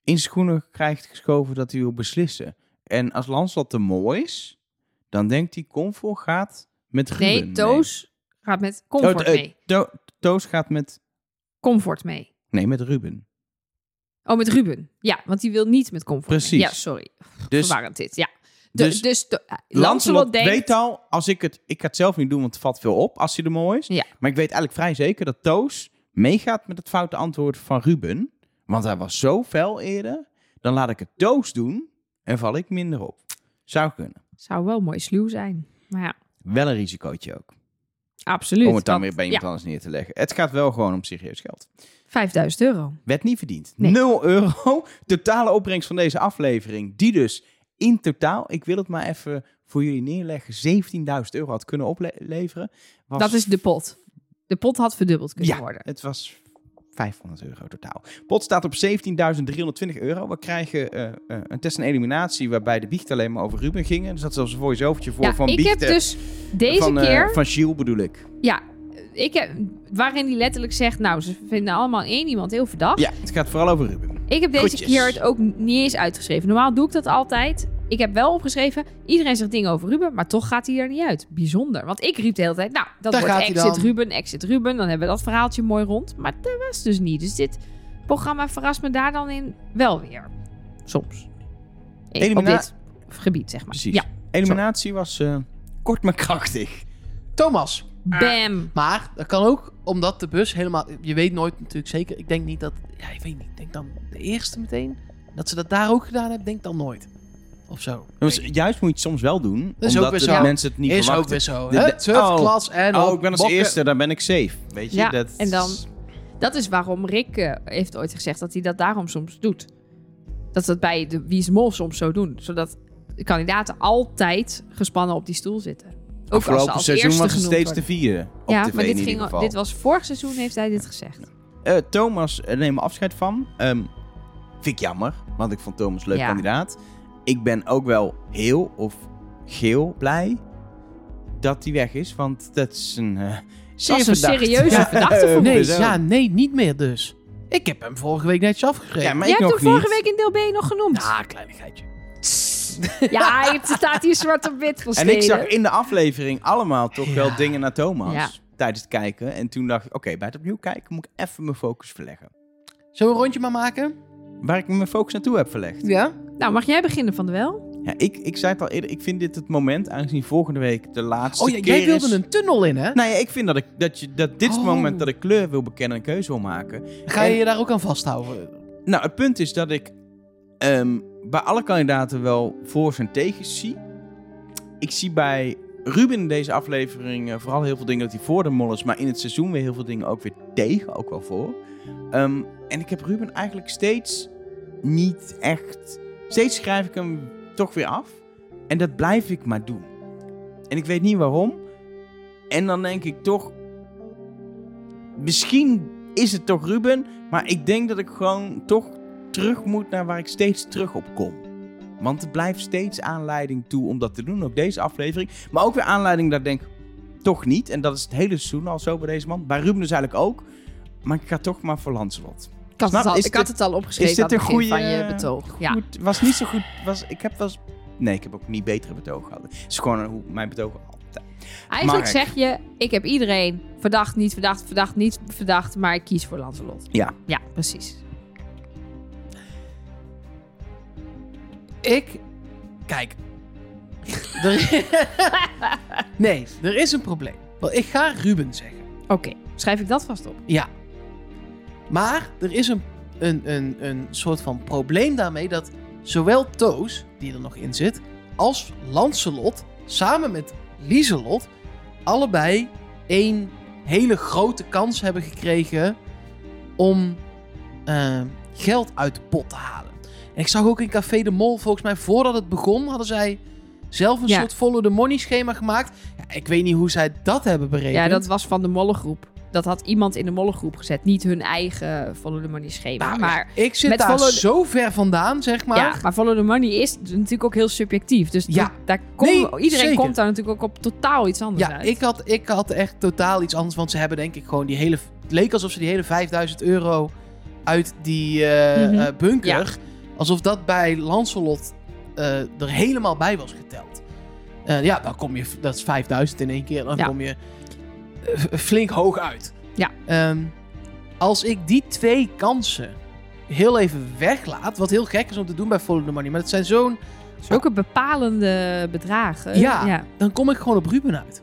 C: in schoenen krijgt geschoven dat hij wil beslissen. En als Lancelot te mooi is, dan denkt hij Comfort gaat met Ruben
B: Nee,
C: mee.
B: Toos gaat met comfort
C: Oh, eh,
B: mee.
C: To- Toos gaat met...
B: Comfort mee.
C: Nee, met Ruben.
B: Oh, met Ruben. Ja, want die wil niet met comfort. mee.
C: Precies.
B: Ja, sorry.
C: Dus,
B: Verwarrend dit. Ja. De-
C: dus
B: dus de- eh,
C: Lancelot
B: Lancelot denkt.
C: weet al, als ik het, ik ga het zelf niet doen, want het valt veel op als hij er mooi is.
B: Ja.
C: Maar ik weet eigenlijk vrij zeker dat Toos meegaat met het foute antwoord van Ruben. Want hij was zo fel eerder. Dan laat ik het Toos doen en val ik minder op. Zou kunnen.
B: Zou wel mooi sluw zijn. Maar ja,
C: Wel een risicootje ook.
B: absoluut.
C: om het dan
B: want-
C: weer bij
B: ja,
C: iemand anders neer te leggen. Het gaat wel gewoon om serieus geld.
B: 5000 euro.
C: Werd niet verdiend.
B: Nee.
C: 0 euro. Totale opbrengst van deze aflevering. Die dus in totaal, ik wil het maar even voor jullie neerleggen, 17.000 euro had kunnen opleveren. Was
B: Dat is de pot. De pot had verdubbeld kunnen
C: ja,
B: worden.
C: het was 500 euro totaal. Pot staat op 17.320 euro. We krijgen eh, eh, een test en eliminatie waarbij de biechten alleen maar over Ruben gingen. Dus dat is zelfs een voice-overtje voor
B: Ja,
C: van
B: ik
C: biechten.
B: heb dus deze
C: van, eh,
B: keer.
C: van Gilles bedoel ik.
B: Ja, ik heb, waarin hij letterlijk zegt. Nou, ze vinden allemaal één iemand heel verdacht.
C: Ja, het gaat vooral over Ruben.
B: Ik heb deze
C: Groetjes.
B: keer het ook niet eens uitgeschreven. Normaal doe ik dat altijd. Ik heb wel opgeschreven, iedereen zegt dingen over Ruben, maar toch gaat hij er niet uit. Bijzonder. Want ik riep de hele tijd, nou,
A: Daar
B: dat wordt
A: gaat hij
B: exit
A: dan.
B: Ruben, exit Ruben. Dan hebben we dat verhaaltje mooi rond. Maar dat was dus niet. Dus dit programma verrast me daar dan in wel weer. Soms. Eh, Op
C: Elimina-
B: dit gebied, zeg maar.
C: Precies.
B: Ja,
C: Eliminatie was eh, kort maar krachtig.
A: Thomas.
B: bam.
A: Maar dat kan ook omdat de bus helemaal. Je weet nooit natuurlijk zeker. Ik denk niet dat. Ja, ik weet niet. Ik denk dan de eerste meteen. Dat ze dat daar ook gedaan hebben, denk dan nooit. Of zo.
C: Dus juist moet je het soms wel doen,
A: Dat is ook
C: omdat
A: weer
C: de
A: zo.
C: mensen het niet
A: is ook
C: verwachten.
A: weer zo.
C: De-
A: hè?
C: de-
A: Surf,
C: oh.
A: klas en.
C: Oh,
A: op
C: ik ben als
A: bokken.
C: eerste, dan ben ik safe. Weet je,
B: Ja,
C: dat
B: en dan-
C: is-
B: Dat is waarom Rick eh, heeft ooit gezegd dat hij dat daarom soms doet. Dat ze dat bij de Wie is Mol soms zo doen. Zodat de kandidaten altijd gespannen op die stoel zitten. Ook
C: Afgelopen
B: als ze als
C: seizoen
B: eerste
C: was het
B: genoemd
C: steeds de
B: worden.
C: vierde. Op
B: Ja,
C: tv
B: maar
C: in
B: dit,
C: ieder
B: ging,
C: geval.
B: dit was vorig seizoen heeft hij dit gezegd.
C: Eh, Thomas eh, neem afscheid van. Ehm, vind ik jammer, want ik vond Thomas een leuk
B: Ja.
C: kandidaat. Ik ben ook wel heel of geel blij dat hij weg is, want dat is een eh zeer
B: was een
C: verdacht.
B: serieuze
C: Ja, eh,
B: verdachte voor
A: Nee,
C: mezelf.
A: ja, nee, niet meer dus. Ik heb hem vorige week netjes afgegeven.
C: Ja, maar
B: Jij
C: ik
B: hebt
C: nog
B: hem vorige
C: niet.
B: week in deel B nog genoemd.
A: Ah, kleinigheidje.
B: Ja, het staat hier zwart op wit van
C: En ik zag
B: Steden.
C: in de aflevering allemaal toch wel
A: Ja.
C: dingen naar Thomas
B: Ja.
C: tijdens het kijken. En toen dacht ik, oké, bij het opnieuw kijken moet ik even mijn focus verleggen.
A: Zullen we een rondje maar maken? Oh
C: Waar ik mijn focus naartoe heb verlegd.
A: Ja.
B: Nou, mag jij beginnen van de wel?
C: Ja, ik, ik zei het al eerder, ik vind dit het moment, aangezien volgende week de laatste
A: Oh, ja,
C: keer
A: jij wilde
C: is.
A: een tunnel in, hè?
C: Nou ja, ik vind dat, ik, dat, je, dat dit is het
A: Oh.
C: moment dat ik kleur wil bekennen en een keuze wil maken.
A: Ga je je daar ook aan vasthouden?
C: Nou, het punt is dat ik ehm, bij alle kandidaten wel voor en tegen zie. Ik zie bij Ruben in deze aflevering eh, vooral heel veel dingen dat hij voor de mol is, maar in het seizoen weer heel veel dingen ook weer tegen, ook wel voor. Ehm, en ik heb Ruben eigenlijk steeds niet echt. Steeds schrijf ik hem toch weer af. En dat blijf ik maar doen. En ik weet niet waarom. En dan denk ik toch. Misschien is het toch Ruben, maar ik denk dat ik gewoon toch terug moet naar waar ik steeds terug op kom. Want er blijft steeds aanleiding toe om dat te doen, ook deze aflevering. Maar ook weer aanleiding dat ik denk, toch niet. En dat is het hele seizoen al zo bij deze man. Bij Ruben dus eigenlijk ook. Maar ik ga toch maar voor Lancelot.
B: Ik had,
C: Snap,
B: het, al,
C: is
B: ik had
C: dit-
B: het al opgeschreven
C: is dit
B: aan het
C: een
B: begin
C: goeie,
B: van je
C: eh,
B: betoog. Ja.
C: Goed, was niet zo goed. Was, ik heb was, nee, ik heb ook niet betere betoog gehad. Het is gewoon hoe mijn betoog altijd.
B: Eigenlijk
C: Mark.
B: zeg je, ik heb iedereen verdacht, niet verdacht, verdacht, niet verdacht, maar ik kies voor Lancelot.
C: Ja.
B: Ja, precies.
A: Ik. Kijk. Er... nee, er is een probleem. Want ik ga Ruben zeggen.
B: Oké, schrijf ik dat vast op.
A: Ja. Maar er is een, een, een, een soort van probleem daarmee dat zowel Toos, die er nog in zit, als Lancelot samen met Lieselot allebei één hele grote kans hebben gekregen om eh, geld uit de pot te halen. En ik zag ook in Café de Mol, volgens mij voordat het begon, hadden zij zelf een
B: Ja.
A: soort follow the money schema gemaakt. Ja, ik weet niet hoe zij dat hebben berekend.
B: Ja, dat was van de mollengroep. Dat had iemand in de mollengroep gezet. Niet hun eigen follow the money schema.
A: Nou,
B: maar,
A: Ik zit
B: Met
A: daar
B: follow-
A: zo ver vandaan, zeg maar.
B: ja, maar follow the money is natuurlijk ook heel subjectief. Dus
A: Ja.
B: dat- daar kom,
A: Nee,
B: iedereen
A: zeker.
B: komt daar natuurlijk ook op totaal iets anders
A: Ja,
B: uit.
A: ik had, ik had echt totaal iets anders. Want ze hebben denk ik gewoon die hele... Het leek alsof ze die hele 5000 euro uit die eh,
B: Mhm.
A: eh, bunker... Alsof dat bij Lancelot eh, er helemaal bij was geteld. Eh, ja, dan kom je... Dat is 5000 in één keer. Dan
B: Ja.
A: kom je eh, f- flink hoog uit.
B: Ja.
A: Ehm, als ik die twee kansen heel even weglaat... Wat heel gek is om te doen bij Follow the Money... Maar het zijn zo'n...
B: ook een bepalende bedragen.
A: Ja. dan kom ik gewoon op Ruben uit.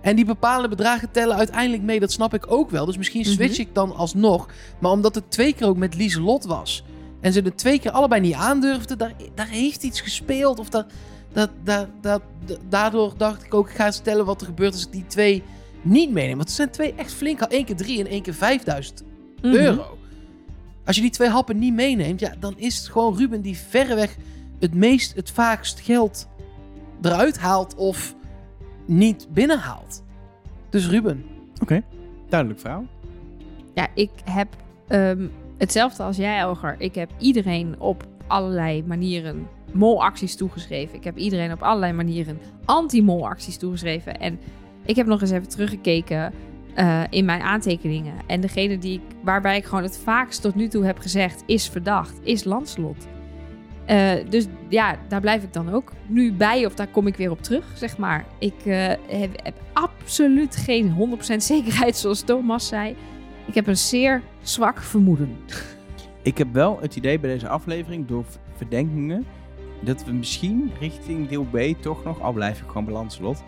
A: En die bepaalde bedragen tellen uiteindelijk mee, dat snap ik ook wel. Dus misschien switch
B: Mhm.
A: ik dan alsnog. Maar omdat het twee keer ook met Lieselot was. En ze er twee keer allebei niet aandurfden, daar, daar heeft iets gespeeld. Of daar, dat, dat, dat, da- daardoor dacht ik ook, ik ga eens tellen wat er gebeurt als ik die twee niet meeneem. Want het zijn twee echt flink, al één keer drie en één keer 5000
B: Mhm.
A: euro. Als je die twee happen niet meeneemt, ja, dan is het gewoon Ruben die verreweg het meest, het vaakst geld eruit haalt of niet binnenhaalt. Dus Ruben.
C: Duidelijk verhaal.
B: Ja, ik heb ehm, hetzelfde als jij, Elger. Ik heb iedereen op allerlei manieren molacties toegeschreven. Ik heb iedereen op allerlei manieren anti-molacties toegeschreven. En ik heb nog eens even teruggekeken eh, in mijn aantekeningen. En degene die ik, waarbij ik gewoon het vaakst tot nu toe heb gezegd is verdacht, is Lanslot. Eh, dus ja, daar blijf ik dan ook nu bij, of daar kom ik weer op terug, zeg maar. Ik eh, heb, heb absoluut geen 100% zekerheid, zoals Thomas zei. Ik heb een zeer zwak vermoeden.
C: Ik heb wel het idee bij deze aflevering door v- verdenkingen dat we misschien richting deel B toch nog, al blijf ik gewoon bij Lancelot.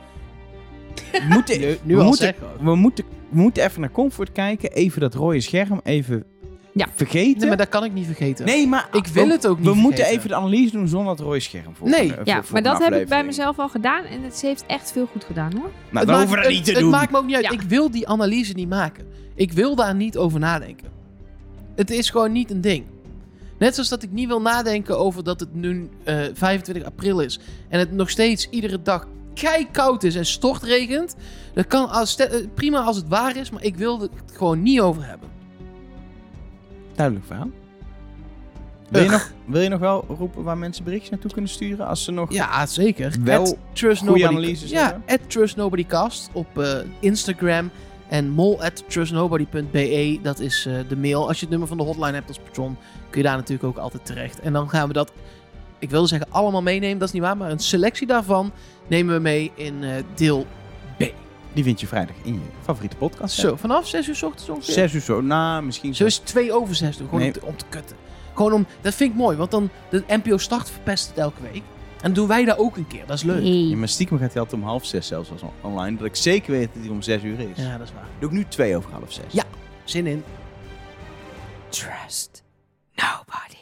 C: We moeten, we, moeten, we, moeten, we moeten even naar comfort kijken, even dat rode scherm even
B: Ja.
C: vergeten.
A: Nee, maar dat kan ik niet vergeten.
C: nee, maar
A: ik wil het ook
C: We
A: niet
C: moeten
A: vergeten.
C: even de analyse doen zonder dat rode scherm.
A: Nee. Ja,
B: Ja, maar dat heb ik bij mezelf al gedaan en het heeft echt veel goed gedaan hoor.
C: Nou,
A: Het
C: dan
A: maakt-
C: hoeven we dat niet
A: het-
C: te
A: het
C: doen.
A: maakt me ook niet uit.
B: Ja.
A: Ik wil die analyse niet maken. Ik wil daar niet over nadenken. Het is gewoon niet een ding. Net zoals dat ik niet wil nadenken over dat het nu eh, 25 april is en het nog steeds iedere dag koud is en stortregent. Dat kan als, stel- eh, prima als het waar is, maar ik wil het gewoon niet over hebben.
C: Duidelijk verhaal. Wil je,
A: Ugh.
C: nog, wil je nog wel roepen waar mensen berichtjes naartoe kunnen sturen als ze nog...
A: Ja, zeker.
C: Wel
A: At trust
C: goede
A: Nobody-
C: analyses
A: Ja,
C: hebben.
A: at trustnobodycast op eh, Instagram. En mol at trustnobody.be, dat is eh, de mail. Als je het nummer van de hotline hebt als patron, kun je daar natuurlijk ook altijd terecht. En dan gaan we dat, ik wilde zeggen allemaal meenemen, dat is niet waar. Maar een selectie daarvan nemen we mee in eh, deel
C: Die vind je vrijdag in je favoriete podcast.
A: zo. Vanaf 6 uur s ochtends ongeveer.
C: Zes uur zo. Nou, misschien
A: Zo
C: zo.
A: is 2 over 6 doen, gewoon
C: Nee.
A: om, te, om te kutten. Gewoon om, dat vind ik mooi, want dan, de NPO Start verpest het elke week. En doen wij dat ook een keer, dat is leuk.
C: Ja,
B: Nee.
C: maar stiekem gaat hij altijd om half zes zelfs als on- online. Dat ik zeker weet dat hij om zes uur is.
A: Ja, dat is waar.
C: Doe ik nu twee over half zes.
A: Ja. Zin in.
B: Trust nobody.